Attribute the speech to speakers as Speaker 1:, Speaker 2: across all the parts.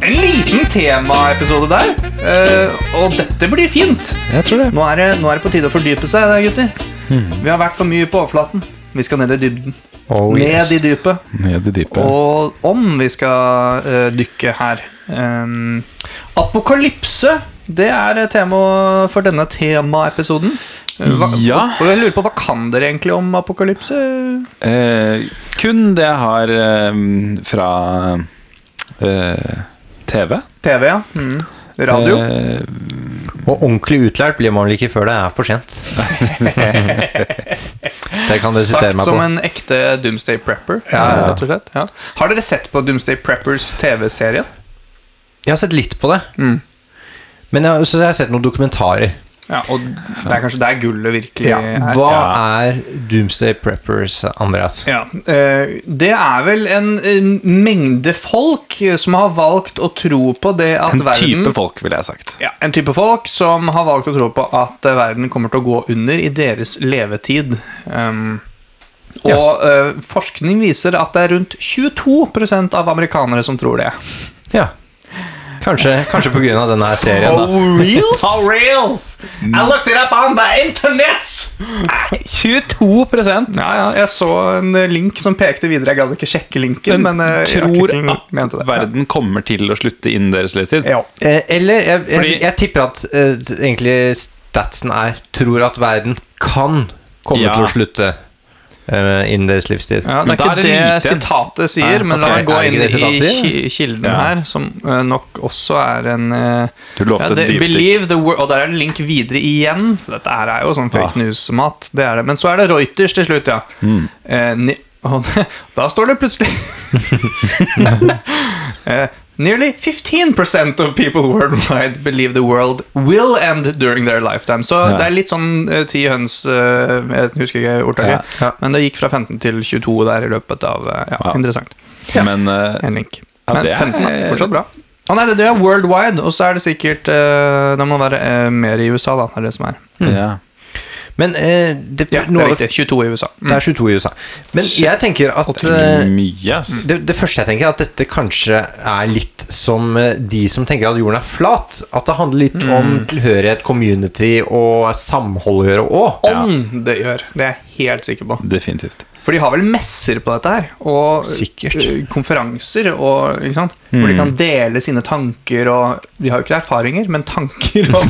Speaker 1: En liten temaepisode der. eh, og dette blir fint.
Speaker 2: Jeg tror det.
Speaker 1: Nå er, det, nå er det på tide å fordype seg, da, gutter. Vi har vært for mye på overflaten. Vi skal ned i dybden.
Speaker 3: Oh,
Speaker 1: ned
Speaker 3: yes.
Speaker 1: i dypet.
Speaker 2: Ned i dypet.
Speaker 1: Og om vi skal eh, dykke her Ehm, Apokalypse, det er tema for denne temaepisoden. Eh, Hva,
Speaker 2: Ja.
Speaker 1: Og jeg lurer på, hva kan dere egentlig om apokalypse?
Speaker 2: Eh, kun det jeg har eh, fra eh, TV.
Speaker 1: TV, ja. Mm. Radio.
Speaker 2: Eh,
Speaker 3: Og ordentlig utlært blir man vel ikke før det er for sent. det kan du sitere
Speaker 1: Sagt
Speaker 3: meg på.
Speaker 1: som en ekte Doomsday Prepper,
Speaker 3: ja, ja.
Speaker 1: rett og slett. Ja. Har dere sett på Doomsday Preppers TV-serien?
Speaker 3: Jeg har sett litt på det.
Speaker 1: Mm.
Speaker 3: Men jeg, så har jeg sett noen dokumentarer.
Speaker 1: Ja, og det er kanskje der gullet virkelig er.
Speaker 3: Hva er Doomsday Preppers, Andreas?
Speaker 1: Ja, eh, Det er vel en eh, mengde folk som har valgt å tro på det at
Speaker 2: en
Speaker 1: Altså, verden
Speaker 2: type folk, ville jeg sagt.
Speaker 1: ja, en type folk som har valgt å tro på at eh, verden kommer til å gå under i deres levetid. Um, og eh, forskning viser at det er rundt 22 av amerikanere som tror det.
Speaker 3: Ja. Kanskje, kanskje på grunn av denne her serien, da.
Speaker 1: reals? For reals! I looked it up on the internet!
Speaker 2: 22
Speaker 1: Ja, ja, jeg så en eh, link som pekte videre. Jeg gadd ikke sjekke linken, men eh, i
Speaker 2: tror
Speaker 1: artikkelen mente
Speaker 2: at
Speaker 1: det.
Speaker 2: verden kommer til å slutte innen deres levetid.
Speaker 1: Ja.
Speaker 3: Eh, Eller jeg, jeg,
Speaker 2: Fordi-
Speaker 3: jeg tipper at eh, egentlig statsen er tror at verden kan komme
Speaker 2: Ja.
Speaker 3: til å slutte eh, innen deres livstid.
Speaker 1: Ja, det
Speaker 2: Men
Speaker 1: er
Speaker 2: da
Speaker 1: ikke
Speaker 2: er det
Speaker 1: det,
Speaker 2: lite.
Speaker 1: sitatet sier,
Speaker 3: Nei,
Speaker 1: men
Speaker 3: ok,
Speaker 1: la meg gå
Speaker 3: er det
Speaker 1: inn
Speaker 3: ikke det
Speaker 1: i
Speaker 3: sitatet sier?
Speaker 1: ki- kilden
Speaker 2: Ja.
Speaker 1: her, som eh, nok også er en eh,
Speaker 2: Du lovte
Speaker 1: ja, det,
Speaker 2: et dypdykk.
Speaker 1: Believe the world, Og der er det link videre igjen, så dette her er jo sånn fake
Speaker 2: Ja.
Speaker 1: news-mat. Det er det. Men så er det Reuters til slutt, ja.
Speaker 2: Mm.
Speaker 1: Eh, ni, og da står det plutselig Eh, Nearly 15% of people worldwide believe the world will end during their lifetime. Så
Speaker 2: Ja.
Speaker 1: det er litt sånn eh, ti høns eh, Jeg husker ikke ordtaket.
Speaker 3: Ja, ja.
Speaker 1: Men det gikk fra 15 til 22 der i løpet av eh, Ja,
Speaker 2: Wow.
Speaker 1: interessant.
Speaker 2: Men eh,
Speaker 1: En link.
Speaker 2: Ja,
Speaker 1: Men
Speaker 2: det er-
Speaker 1: 15 er fortsatt bra. Å nei, det det er worldwide, og så er det sikkert eh, Det må være eh, mer i USA, da. Det er det som er.
Speaker 2: ja.
Speaker 3: Men eh, det,
Speaker 1: Ja, det
Speaker 3: noe
Speaker 1: er
Speaker 3: av det,
Speaker 1: riktig. 22 i USA. Mm.
Speaker 3: det er 22 i USA. Men jeg tenker at eh,
Speaker 2: Mye,
Speaker 1: mm.
Speaker 2: ass.
Speaker 3: det, det første jeg tenker er at dette kanskje er litt som eh, de som tenker at jorden er flat. At det handler litt om
Speaker 1: Mm.
Speaker 3: tilhørighet, community og samhold å gjøre òg.
Speaker 1: Om det gjør. Det er jeg helt sikker på.
Speaker 2: Definitivt.
Speaker 1: For de har vel messer på dette her. Og
Speaker 3: Sikkert.
Speaker 1: eh, konferanser og ikke sant? Hvor de kan dele sine tanker og De har jo ikke erfaringer, men tanker om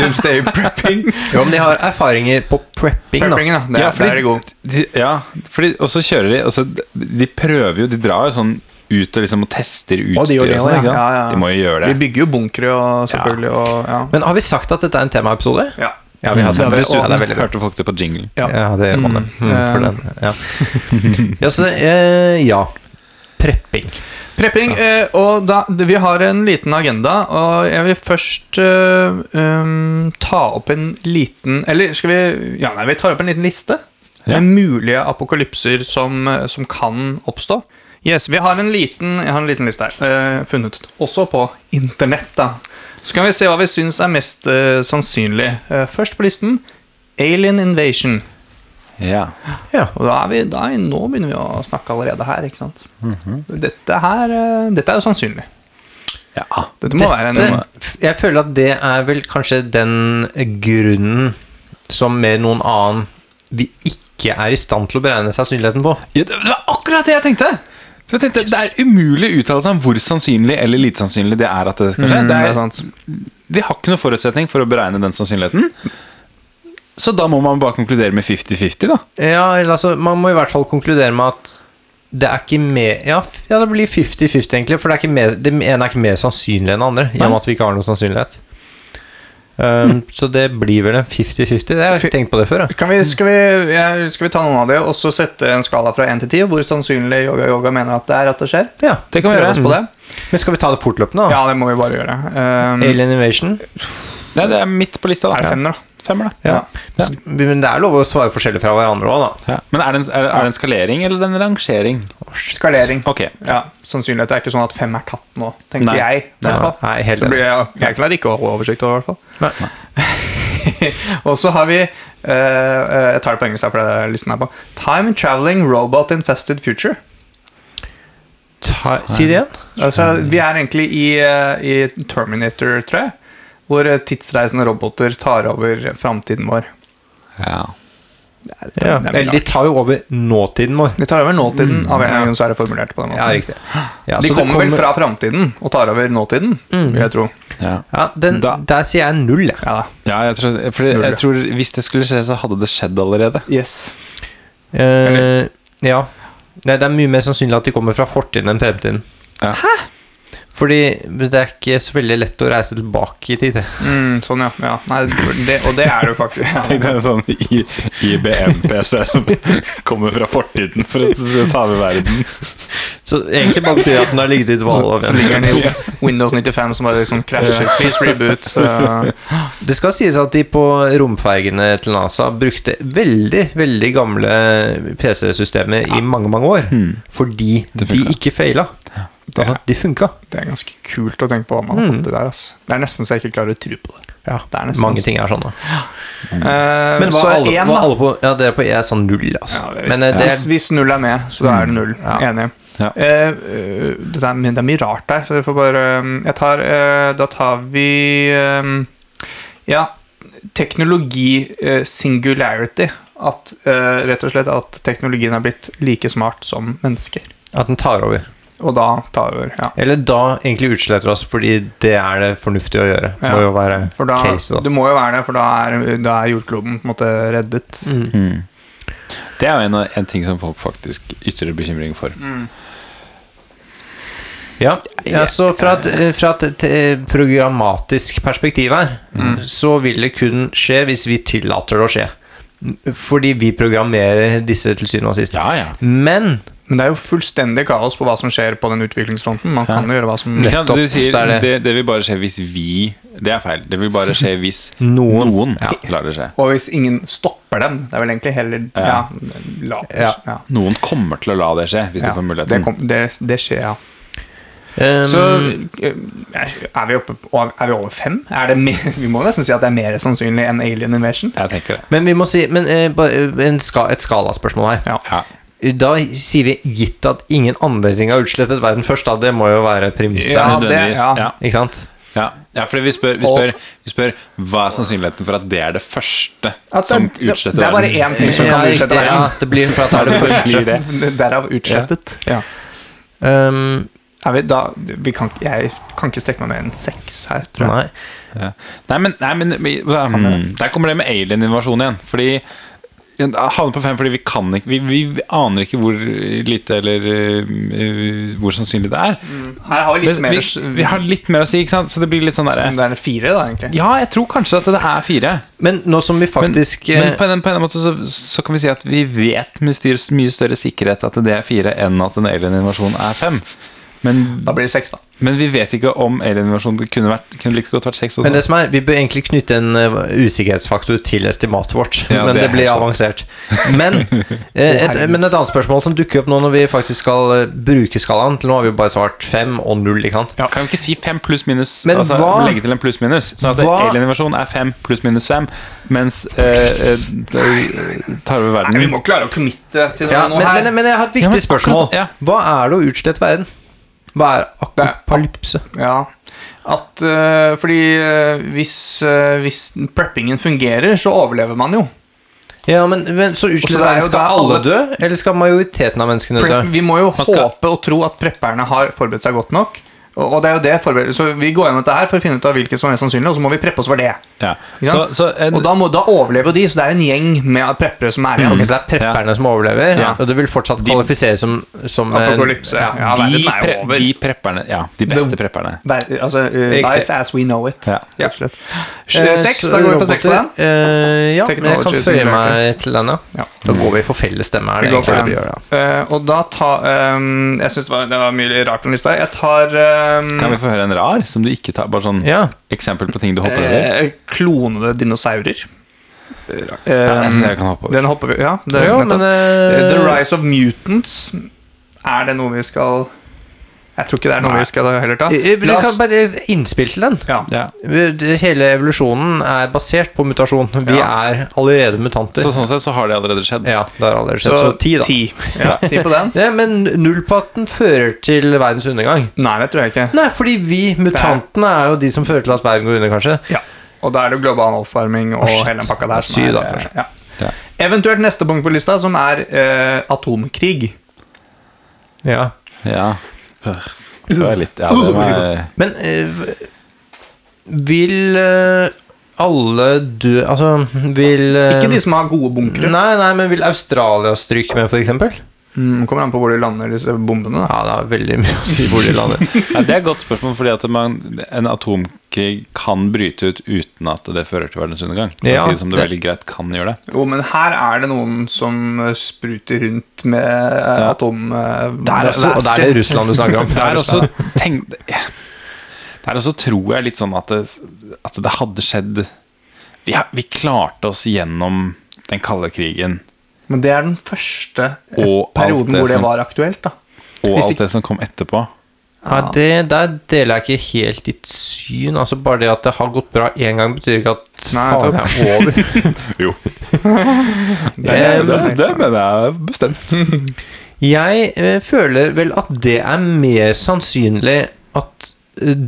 Speaker 1: doomsday prepping.
Speaker 3: Ja, men de har erfaringer på prepping, da.
Speaker 1: Preppingen, da. Der,
Speaker 2: ja,
Speaker 1: der er de gode.
Speaker 2: de- ja, fordi, og så kjører de og så De prøver jo, de drar jo sånn ut og liksom og tester
Speaker 1: Å,
Speaker 2: utstyr.
Speaker 1: de gjør det
Speaker 2: og sånn,
Speaker 1: også,
Speaker 2: ikke sant?
Speaker 1: ja. Ja, ja.
Speaker 2: De må jo gjøre
Speaker 1: Vi
Speaker 2: det.
Speaker 1: bygger jo bunkere og selvfølgelig og ja.
Speaker 3: Men har vi sagt at dette er en temaepisode?
Speaker 1: ja.
Speaker 3: Ja, vi har sagt det.
Speaker 2: Dessuten
Speaker 3: Ja, det er veldig bra.
Speaker 2: hørte folk det på jinglen.
Speaker 1: Ja.
Speaker 3: Ja, det gjør man det. Mm, for
Speaker 1: Eh.
Speaker 3: den. Ja. ja, så det eh, Ja. Prepping.
Speaker 1: Prepping, eh, og da, vi har en liten agenda, og jeg vil først eh, um, ta opp en liten Eller skal vi Ja, nei, vi tar opp en liten liste
Speaker 2: Ja.
Speaker 1: med mulige apokalypser som, eh, som kan oppstå. Yes, vi har en liten, Jeg har en liten liste her, eh, funnet også på internett. da. Så kan vi se hva vi syns er mest eh, sannsynlig. Eh, først på listen Alien Invasion.
Speaker 2: Ja.
Speaker 3: Ja.
Speaker 1: Og da er vi, da er, nå begynner vi å snakke allerede her, ikke sant? Mhm. Dette her, eh, dette er jo sannsynlig.
Speaker 2: ja.
Speaker 1: Dette må være en
Speaker 3: Dette- f- Jeg føler at det er vel kanskje den grunnen som mer enn noen annen vi ikke er i stand til å beregne sannsynligheten på.
Speaker 2: Ja, det det var akkurat det jeg tenkte! Så jeg tenkte Det er umulig å uttale seg om hvor sannsynlig eller lite sannsynlig det er at det skal skje.
Speaker 1: Mm,
Speaker 2: det
Speaker 1: det er
Speaker 2: er,
Speaker 1: sant.
Speaker 2: vi har ikke noen forutsetning for å beregne den sannsynligheten. Så da må man bare konkludere med 50-50, da.
Speaker 3: Ja, eller altså, man må i hvert fall konkludere med at det er ikke mer Ja, f- ja det blir 50-50, egentlig. For det, er ikke mer, det ene er ikke mer sannsynlig enn det andre, i og med at vi ikke har noen sannsynlighet. Um, Så det blir vel en 50-50. Det har jeg ikke tenkt på det før. Jeg.
Speaker 1: Kan vi, skal, vi, jeg- skal vi ta noen av det og så sette en skala fra 1 til 10? Hvor sannsynlig Yoga Yoga mener at det er at det skjer?
Speaker 3: Ja,
Speaker 2: Det kan vi
Speaker 1: Prøve
Speaker 2: gjøre.
Speaker 1: oss på det?
Speaker 3: Men skal vi ta det fortløpende, da?
Speaker 1: Ja, det må vi bare gjøre. Um, er
Speaker 3: Alien Invasion?
Speaker 2: Nei, Mm. det er midt på lista, da.
Speaker 1: det femmer, da?
Speaker 2: Femmer, da.
Speaker 3: Ja. Sk- Men det er lov å svare forskjellig fra hverandre òg,
Speaker 2: Ja.
Speaker 3: da.
Speaker 2: Men er det, en, er, er det en skalering eller en rangering?
Speaker 1: Skalering.
Speaker 2: Ok.
Speaker 1: Ja, sannsynlighet. Det er ikke sånn at fem er tatt nå, tenker
Speaker 2: Nei.
Speaker 1: jeg. i hvert fall.
Speaker 3: Nei, helt
Speaker 1: Det blir
Speaker 3: enig.
Speaker 1: jeg, jeg klarer ikke å holde oversikt over, i hvert fall.
Speaker 3: Nei.
Speaker 1: og så har vi eh, eh, Jeg tar det på engelsk, her, for det er listen her på. Time traveling robot infested future.
Speaker 3: ti- Si det igjen.
Speaker 1: Altså,
Speaker 3: Mm.
Speaker 1: vi er egentlig i, eh, i Terminator 3, hvor eh, tidsreisende roboter tar over framtiden vår.
Speaker 2: Ja.
Speaker 1: Det er-
Speaker 3: Ja.
Speaker 1: det er mye
Speaker 3: Eller de
Speaker 1: rart.
Speaker 3: tar jo over nåtiden vår.
Speaker 1: de tar over nåtiden, av en eller annen grunn så er det formulert på den
Speaker 3: Mm. Ja,
Speaker 1: måten.
Speaker 3: riktig. Ja,
Speaker 1: de
Speaker 3: så det Mm.
Speaker 1: kommer vel fra framtiden og tar over nåtiden, vil jeg tro.
Speaker 2: ja.
Speaker 3: ja, den,
Speaker 2: Da-
Speaker 3: Der sier jeg null, jeg.
Speaker 1: Ja,
Speaker 2: ja jeg, tror, fordi jeg tror Hvis det skulle skje, så hadde det skjedd allerede.
Speaker 1: yes.
Speaker 3: Eh, ja. Nei, det er mye mer sannsynlig at de kommer fra fortiden enn fremtiden.
Speaker 2: Ja.
Speaker 3: Fordi det er ikke så veldig lett å reise tilbake i tid.
Speaker 1: Mm, sånn, ja. ja. Nei, det, og det er det jo faktisk.
Speaker 2: Tenk deg en sånn I- IBM-PC som kommer fra fortiden for å for å ta over verden.
Speaker 3: Så egentlig bare betyr det at den har ligget i dvale. og
Speaker 1: Så
Speaker 3: ventet.
Speaker 1: ligger den i Windows 95 som bare liksom krasjer. Please reboot. eh,
Speaker 3: Det skal sies at de på romfergene til NASA brukte veldig, veldig gamle PC-systemer i mange, mange år. Fordi
Speaker 2: Det
Speaker 3: de
Speaker 2: funka.
Speaker 3: ikke feila. Altså, de funka.
Speaker 1: det er ganske kult å tenke på hva man har fått til der. ass. Det er nesten så jeg ikke klarer å tro på det.
Speaker 3: Ja,
Speaker 1: Det er nesten
Speaker 3: mange
Speaker 1: sånn.
Speaker 3: ting er sånn. da.
Speaker 1: Eh,
Speaker 3: Men
Speaker 1: så
Speaker 3: var alle,
Speaker 1: en,
Speaker 3: var
Speaker 1: da.
Speaker 3: alle på Ja, dere på E er sånn null, altså.
Speaker 1: Ja, jeg vet.
Speaker 3: Men eh, det
Speaker 1: hvis, hvis null er med, så da er det null.
Speaker 3: Ja.
Speaker 1: Enig.
Speaker 2: Ja.
Speaker 1: Eh, eh, det, er, men det er mye rart der, så jeg får bare eh, jeg tar, eh, Da tar vi eh, Ja, teknologi eh, singularity. At, eh, rett og slett at teknologien er blitt like smart som mennesker.
Speaker 3: er at den tar over.
Speaker 1: Og da tar vi over. Ja.
Speaker 3: Eller da egentlig utsletter oss, fordi det er det fornuftige å gjøre.
Speaker 1: Ja,
Speaker 3: Må jo være
Speaker 1: For da,
Speaker 3: case, da.
Speaker 1: Det må jo være det, for da er, da er jordkloden på en måte reddet.
Speaker 3: Mm.
Speaker 2: Det er jo en, av- en ting som folk faktisk ytrer bekymring for.
Speaker 3: Ja, ja så fra et, fra et te- programmatisk perspektiv her, så vil det kun skje hvis vi tillater det å skje. Fordi vi programmerer disse til syvende og sist.
Speaker 2: Ja, ja.
Speaker 3: Men
Speaker 1: Men det er jo fullstendig kaos på hva som skjer på den utviklingsfronten. Man kan jo gjøre hva som
Speaker 2: Ikke sant?
Speaker 3: Nettopp,
Speaker 2: Du sier,
Speaker 3: det er
Speaker 2: det,
Speaker 3: det.
Speaker 2: det, vil bare skje hvis vi Det er feil. Det vil bare skje hvis
Speaker 3: Noen.
Speaker 2: noen, lar det skje.
Speaker 1: Og hvis ingen stopper dem, det er vel egentlig heller
Speaker 2: Ja.
Speaker 1: Ja. la-
Speaker 3: Ja.
Speaker 1: ja.
Speaker 2: Noen kommer til å la det skje hvis
Speaker 1: Ja,
Speaker 2: de får muligheten.
Speaker 1: det, kom, det, det skjer, ja.
Speaker 3: ehm,
Speaker 1: Så eh, er vi, oppe, på- er vi over fem? Er det mer, vi må nesten si at det er mer sannsynlig enn alien invasion.
Speaker 2: Jeg tenker det.
Speaker 3: Men vi må si men, eh, bare en ska, et skalaspørsmål her.
Speaker 1: Ja.
Speaker 2: Ja.
Speaker 3: Da sier vi gitt at ingen andre ting har utslettet verden først, da. Det må jo være premisset.
Speaker 1: Ja, det-
Speaker 2: nødvendigvis.
Speaker 1: ja.
Speaker 2: Ja.
Speaker 3: Ikke sant?
Speaker 2: Ja. ja, fordi vi spør, vi, spør, vi spør hva er sannsynligheten for at det er det første
Speaker 1: At det,
Speaker 2: som
Speaker 1: er- det,
Speaker 2: utsletter
Speaker 1: det er bare
Speaker 2: verden?
Speaker 1: én ting som kan
Speaker 3: ja,
Speaker 1: utslette
Speaker 3: riktig, ja,
Speaker 1: verden.
Speaker 3: det blir for at det er det første.
Speaker 2: blir det.
Speaker 1: Derav utslettet. Ja.
Speaker 3: Ehm,
Speaker 1: Er vi, da, vi kan, ikke- jeg kan ikke strekke meg mer enn seks her, tror jeg.
Speaker 3: nei.
Speaker 2: Ja. Nei, men, nei, men vi-
Speaker 3: Mm.
Speaker 2: hmm, Der kommer det med alien-invasjon igjen. Fordi jeg havner på fem fordi vi kan ikke Vi, vi aner ikke hvor lite eller øh, hvor sannsynlig det er.
Speaker 1: Her har vi Mm. litt
Speaker 2: Men
Speaker 1: mer
Speaker 2: vi, vi har litt mer å si, ikke sant? Så det blir litt sånn derre
Speaker 1: Det er fire, da, egentlig.
Speaker 2: Ja, jeg tror kanskje at det er fire.
Speaker 3: Men nå som vi faktisk
Speaker 2: men,
Speaker 3: eh,
Speaker 2: men på en, på en måte så, så kan vi si at vi vet med styr, mye større sikkerhet at det er fire enn at en alien-invasjon er fem. Men,
Speaker 1: Da blir det seks, da.
Speaker 2: men vi vet ikke om alien-invasjonen kunne, vært- kunne like godt vært seks. og
Speaker 3: Men det
Speaker 2: sånn.
Speaker 3: som er, vi bør egentlig knytte en eh, usikkerhetsfaktor til estimatet vårt.
Speaker 2: Ja,
Speaker 3: men
Speaker 2: det er
Speaker 3: det, blir
Speaker 2: sant.
Speaker 3: avansert. Men, eh, et, men et annet spørsmål som dukker opp nå når vi faktisk skal eh, bruke skalaen Til nå har vi jo bare svart fem og null, ikke sant?
Speaker 1: Ja.
Speaker 2: Kan vi ikke si fem pluss-minus?
Speaker 3: Men
Speaker 2: Altså,
Speaker 3: hva-
Speaker 2: legge til en pluss-minus. Sånn at
Speaker 3: Hva-
Speaker 2: alien-invasjon er fem pluss-minus fem, mens eh, eh, det tar over verden.
Speaker 1: Nei, vi må klare å committe til noe
Speaker 3: Ja,
Speaker 1: nå
Speaker 3: men,
Speaker 1: her.
Speaker 3: men, men jeg har et
Speaker 2: Ja,
Speaker 3: viktig
Speaker 2: men
Speaker 3: spørsmål.
Speaker 2: akkurat- ja.
Speaker 3: Hva er det å utslette verden? Hva er akopalypse?
Speaker 1: Ja, at eh, fordi eh, hvis, eh, hvis preppingen fungerer, så overlever man jo.
Speaker 3: Ja, men, men Så
Speaker 1: Og så
Speaker 3: utslette
Speaker 1: er
Speaker 3: verden
Speaker 1: jo da
Speaker 3: Skal alle
Speaker 1: alle-
Speaker 3: dø, eller skal majoriteten av menneskene dø?
Speaker 1: Pre vi må jo
Speaker 2: Man skal-
Speaker 1: håpe og tro at prepperne har forberedt seg godt nok. Og, og det er jo det forbered- Så vi går gjennom dette her for å finne ut av hvilket som er mest sannsynlig, og så må vi preppe oss for det.
Speaker 2: Ja.
Speaker 1: Ja.
Speaker 2: Så, eh, så en,
Speaker 1: Og da, må, da overlever jo de, så det er en gjeng med preppere som er igjen.
Speaker 3: Ok, så det er prepperne som overlever,
Speaker 2: Ja.
Speaker 3: og det vil fortsatt kvalifiseres som, som eh,
Speaker 1: Apokalypse. Ja, ja
Speaker 2: de,
Speaker 1: verden er
Speaker 2: pre,
Speaker 1: jo over.
Speaker 2: de prepperne Ja, de beste prepperne.
Speaker 1: Ver altså, eh,
Speaker 3: Riktig.
Speaker 1: life as we know it.
Speaker 2: Ja.
Speaker 1: Rett og slett.
Speaker 3: eh,
Speaker 1: Eh, Seks, da går vi for seks på
Speaker 3: roboter.
Speaker 1: den.
Speaker 3: Eh, ja, men jeg kan
Speaker 1: Technology
Speaker 3: føye
Speaker 1: simulator.
Speaker 3: meg til den,
Speaker 1: Ja.
Speaker 3: ja. Da går vi for felles stemme. Er
Speaker 1: Vi
Speaker 3: det
Speaker 1: går for
Speaker 3: egentlig det
Speaker 1: den.
Speaker 3: vi gjør, ja.
Speaker 1: Eh, og da ta ehm, Jeg syns det, var- det var mye rart på den lista. Jeg tar ehm,
Speaker 2: Kan vi få høre en rar som du ikke tar? Bare sånn
Speaker 3: Ja.
Speaker 2: eksempel på ting du hopper over.
Speaker 1: eh, klonede dinosaurer. Eh,
Speaker 2: Jeg synes jeg kan hoppe over.
Speaker 1: den hopper vi Ja, det,
Speaker 3: Jo,
Speaker 1: nettopp.
Speaker 3: men
Speaker 1: Eh, The
Speaker 3: eh,
Speaker 1: Rise of Mutants. Er det noe vi skal Jeg tror ikke det er noe
Speaker 2: Nei.
Speaker 1: vi skal da heller ta.
Speaker 3: Eh, eh,
Speaker 1: La
Speaker 3: Du
Speaker 1: oss-
Speaker 3: kan bare innspill til den.
Speaker 1: ja.
Speaker 2: Ja.
Speaker 3: Det- Hele evolusjonen er basert på mutasjon. Vi
Speaker 1: Ja.
Speaker 3: er allerede mutanter.
Speaker 2: Så sånn sett så har det allerede skjedd.
Speaker 3: ja, det har allerede skjedd. Så, ti, da.
Speaker 1: Ja, ti på den?
Speaker 3: Ja, men null på at den fører til verdens undergang.
Speaker 1: Nei, det tror jeg ikke.
Speaker 3: Nei, fordi vi mutantene er jo de som fører til at verden går under, kanskje.
Speaker 1: Ja. Og da er det global oppvarming og
Speaker 3: shit.
Speaker 1: hele den pakka der. som
Speaker 3: Syv
Speaker 1: er,
Speaker 3: da,
Speaker 1: eh,
Speaker 3: kanskje.
Speaker 1: ja.
Speaker 2: Ja.
Speaker 1: Eventuelt neste punkt på lista, som er eh, atomkrig.
Speaker 3: Ja.
Speaker 2: Ja. Det var litt Ja, det var
Speaker 3: Men eh, vil eh, alle dø Altså, vil eh,
Speaker 1: Ikke de som har gode bunkere.
Speaker 3: Nei, nei, men vil Australia stryke med, for eksempel?
Speaker 1: Mm, kommer an på hvor de lander, disse bombene. Da.
Speaker 3: Ja, det har veldig mye å si hvor de lander.
Speaker 2: ja, Det er et godt spørsmål, fordi at man, en atomkrig kan bryte ut uten at det fører til verdens undergang.
Speaker 3: Ja,
Speaker 2: Samtidig som det
Speaker 3: det-
Speaker 2: veldig greit kan gjøre det.
Speaker 1: Jo, men her er det noen som eh, spruter rundt med eh, atom... eh,
Speaker 2: Der
Speaker 3: Så, og det er det Russland du snakker om.
Speaker 2: Det er også tenk, Det er også, tror jeg, litt sånn at det, at det hadde skjedd vi, har- vi klarte oss gjennom den kalde krigen
Speaker 1: Men det er den første eh,
Speaker 2: Og alt
Speaker 1: perioden
Speaker 2: det
Speaker 1: hvor det
Speaker 2: som-
Speaker 1: var aktuelt, da.
Speaker 2: og
Speaker 1: Hvis
Speaker 2: alt
Speaker 1: ikke-
Speaker 2: det som kom etterpå.
Speaker 3: Ja, det, der deler jeg ikke helt ditt syn. Altså Bare det at det har gått bra én gang, betyr ikke at
Speaker 1: Nei,
Speaker 3: faren er over.
Speaker 2: Jo.
Speaker 1: er-
Speaker 3: det-
Speaker 2: mener jeg bestemt.
Speaker 3: Jeg eh, føler vel at det er mer sannsynlig at eh,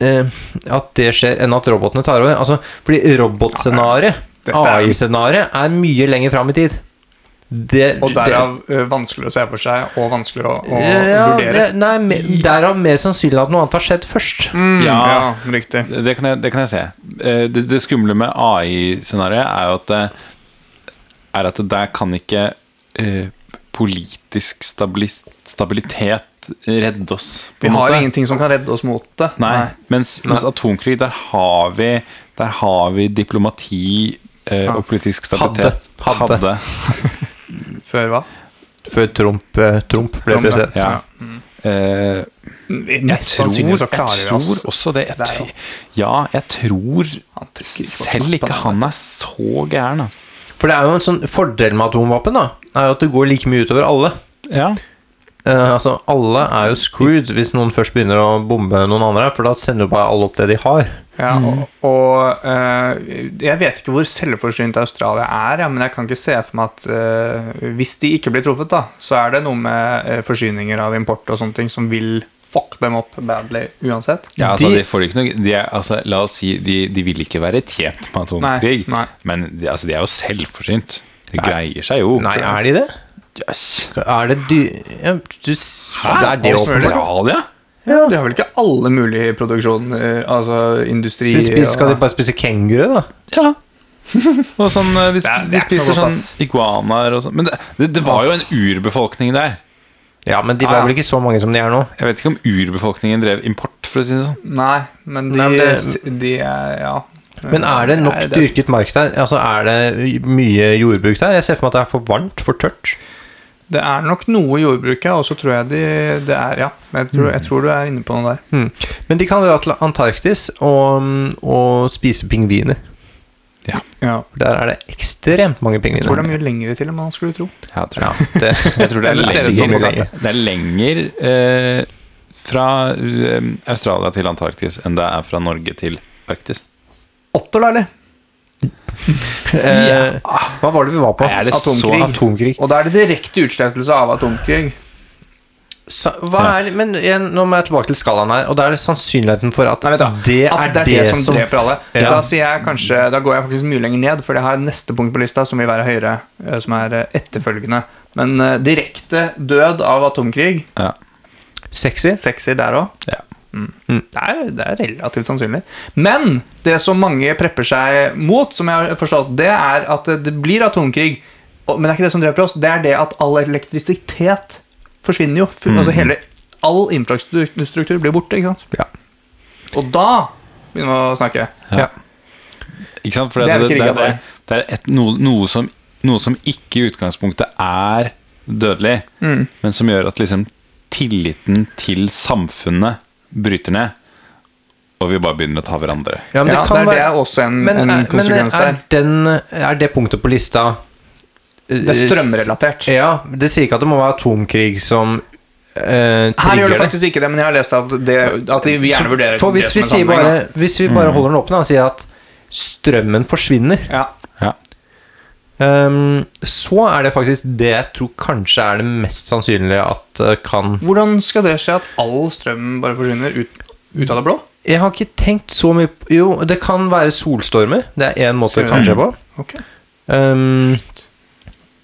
Speaker 3: eh, At det skjer, enn at robotene tar over. Altså, fordi robotscenarioet,
Speaker 1: Dette er-
Speaker 3: AI-scenarioet, er mye lenger fram i tid. Det,
Speaker 1: Og
Speaker 3: det-
Speaker 1: derav eh, vanskeligere å se for seg, og vanskeligere å, å
Speaker 3: ja,
Speaker 1: vurdere.
Speaker 3: det- Nei, me- derav mer sannsynlig at noe annet har skjedd først.
Speaker 1: Mm, ja.
Speaker 2: Ja.
Speaker 1: riktig.
Speaker 2: Det kan jeg, det kan jeg se. Eh, Det, det skumle med AI-scenarioet er jo at det, er at det der kan ikke eh, politisk stabilis, stabilitet redde oss. på
Speaker 1: Vi
Speaker 2: en
Speaker 1: har
Speaker 2: måte.
Speaker 1: ingenting som kan redde oss mot det.
Speaker 2: Nei, Mens, mens atomkrig, der har vi, der har vi diplomati eh, og politisk stabilitet.
Speaker 3: Hadde. Hadde.
Speaker 1: Nei. Før hva?
Speaker 3: Før Trump, eh, Trump ble
Speaker 1: Trump, ja.
Speaker 3: president.
Speaker 2: Ja. Eh,
Speaker 1: Jeg
Speaker 2: tror,
Speaker 1: tror,
Speaker 2: jeg tror også det. Jeg
Speaker 1: Det er
Speaker 2: tr-
Speaker 1: jo-
Speaker 2: ja, jeg tror
Speaker 1: trykker ikke på
Speaker 2: selv ikke
Speaker 1: knappen,
Speaker 2: han er så gæren, altså.
Speaker 3: For det er jo en sånn fordel med atomvåpen, da. Er jo at det går like mye utover alle.
Speaker 2: Ja.
Speaker 3: Eh, altså, alle er jo screwed hvis noen først begynner å bombe noen andre, for da sender jo bare alle opp det de har.
Speaker 1: Ja,
Speaker 3: Mm.
Speaker 1: og, og eh, jeg vet ikke hvor selvforsynt Australia er, ja, men jeg kan ikke se for meg at eh, hvis de ikke blir truffet, da, så er det noe med eh, forsyninger av import og sånne ting som vil fuck dem opp badly uansett.
Speaker 2: Ja, altså,
Speaker 3: De-
Speaker 2: de, får ikke noe de er, altså, La oss si de, de vil ikke være tjent med atomkrig,
Speaker 1: Nei, nei.
Speaker 2: men de, altså, de er jo selvforsynt. De greier seg jo.
Speaker 3: Nei, er de det?
Speaker 2: Yes.
Speaker 3: Er det dy... Ja, du, s- det er det åpenbart.
Speaker 2: Australia?
Speaker 3: Ja.
Speaker 1: De har vel ikke alle mulige produksjon, eh, altså industri
Speaker 3: Så de spiser,
Speaker 1: og-
Speaker 3: skal de bare spise kenguru, da?
Speaker 2: Ja. Og sånn, eh, de,
Speaker 1: Det er- det er
Speaker 2: de
Speaker 1: ikke noe
Speaker 2: spiser
Speaker 1: godt,
Speaker 2: sånn
Speaker 1: ass.
Speaker 2: iguanaer og sånn. Men det, det, det var jo en urbefolkning der.
Speaker 3: Ja, men de
Speaker 1: Ja,
Speaker 3: var
Speaker 1: ja.
Speaker 3: vel ikke så mange som de er nå.
Speaker 2: Jeg vet ikke om urbefolkningen drev import, for å si det sånn.
Speaker 1: Nei, men de,
Speaker 3: Nei, men
Speaker 1: de,
Speaker 3: det-
Speaker 1: er- Ja.
Speaker 3: Men er det nok
Speaker 1: Nei, er-
Speaker 3: dyrket mark der? Altså, Er det mye jordbruk der? Jeg ser for meg at det er for varmt, for tørt.
Speaker 1: Det er nok noe i jordbruket, og så tror jeg de, det er Ja, jeg
Speaker 3: Mm.
Speaker 1: tror, jeg tror du er inne på noe der.
Speaker 3: Hmm. Men de kan dra til Antarktis og, mm, og spise pingviner.
Speaker 1: Ja.
Speaker 3: Der er det ekstremt mange
Speaker 1: Jeg tror det
Speaker 3: pingviner.
Speaker 1: er mye lengre til enn man skulle tro.
Speaker 2: Ja, jeg tror
Speaker 3: Ja, det
Speaker 2: Jeg tror det er
Speaker 1: Eller ser det
Speaker 3: ut som
Speaker 2: lenger,
Speaker 3: det er.
Speaker 2: det er lenger eh, fra eh, Australia til Antarktis enn det er fra Norge til Arktis.
Speaker 1: Åtter, da, eller?
Speaker 3: Eh, Hva var det vi var på?
Speaker 2: Er det så-
Speaker 3: Atomkrig.
Speaker 1: Og da er det direkte utslettelse av atomkrig.
Speaker 3: Sa, hva er, men igjen, nå må jeg tilbake til skalaen her, og da er det sannsynligheten for at
Speaker 1: Nei, vet du,
Speaker 3: det er
Speaker 1: At det er det, som, dreper alle.
Speaker 3: Ja.
Speaker 1: Da, sier jeg kanskje, da går jeg faktisk mye lenger ned, for jeg har neste punkt på lista som vil være høyere, eh, som er eh, etterfølgende. Men eh, direkte død av atomkrig,
Speaker 2: Ja.
Speaker 3: Sexy?
Speaker 1: sexy der òg.
Speaker 2: Ja.
Speaker 1: Det er, det er relativt sannsynlig. Men det som mange prepper seg mot, som jeg har forstått, det er at det blir atomkrig. Og- Men det er ikke det som dreper oss, det er det at all elektrisitet forsvinner jo. Fu- Altså hele, all infrastruktur blir borte, ikke sant.
Speaker 3: Ja.
Speaker 1: Og da begynner man å snakke.
Speaker 3: Ja.
Speaker 2: Ikke sant? For
Speaker 1: Det
Speaker 2: det,
Speaker 1: er
Speaker 2: det,
Speaker 1: ikke
Speaker 2: det,
Speaker 1: riktig at
Speaker 2: er- det er et, noe, noe, som, noe som ikke i utgangspunktet er dødelig,
Speaker 1: Mm.
Speaker 2: men som gjør at liksom tilliten til samfunnet bryter ned, og vi bare begynner å ta hverandre.
Speaker 3: Ja,
Speaker 1: Ja,
Speaker 3: men det
Speaker 1: det,
Speaker 3: kan
Speaker 1: er, det
Speaker 3: være-
Speaker 1: er også en,
Speaker 3: men,
Speaker 1: en
Speaker 3: er, men
Speaker 1: konsekvens
Speaker 3: er, den, er det punktet på lista eh,
Speaker 1: der. Det er strømrelatert.
Speaker 3: Ja, det sier ikke at det må være atomkrig som eh,
Speaker 1: Her gjør
Speaker 3: trigger
Speaker 1: det
Speaker 3: det.
Speaker 1: faktisk ikke det, men jeg har lest at, det, at de gjerne vurderer
Speaker 3: For hvis
Speaker 1: det
Speaker 3: vi,
Speaker 1: som
Speaker 3: sier
Speaker 1: en sammenheng, Mm.
Speaker 3: bare, hvis vi bare holder den åpen da, og sier at strømmen forsvinner,
Speaker 1: da. ja.
Speaker 3: ehm, så er det faktisk det jeg tror kanskje er det mest sannsynlige at eh, kan
Speaker 1: Hvordan skal det skje at all strøm bare forsvinner ut, ut av det blå?
Speaker 3: Jeg har ikke tenkt så mye på Jo, det kan være solstormer. Det er én måte det kan skje på.
Speaker 1: Ok.
Speaker 3: Ehm,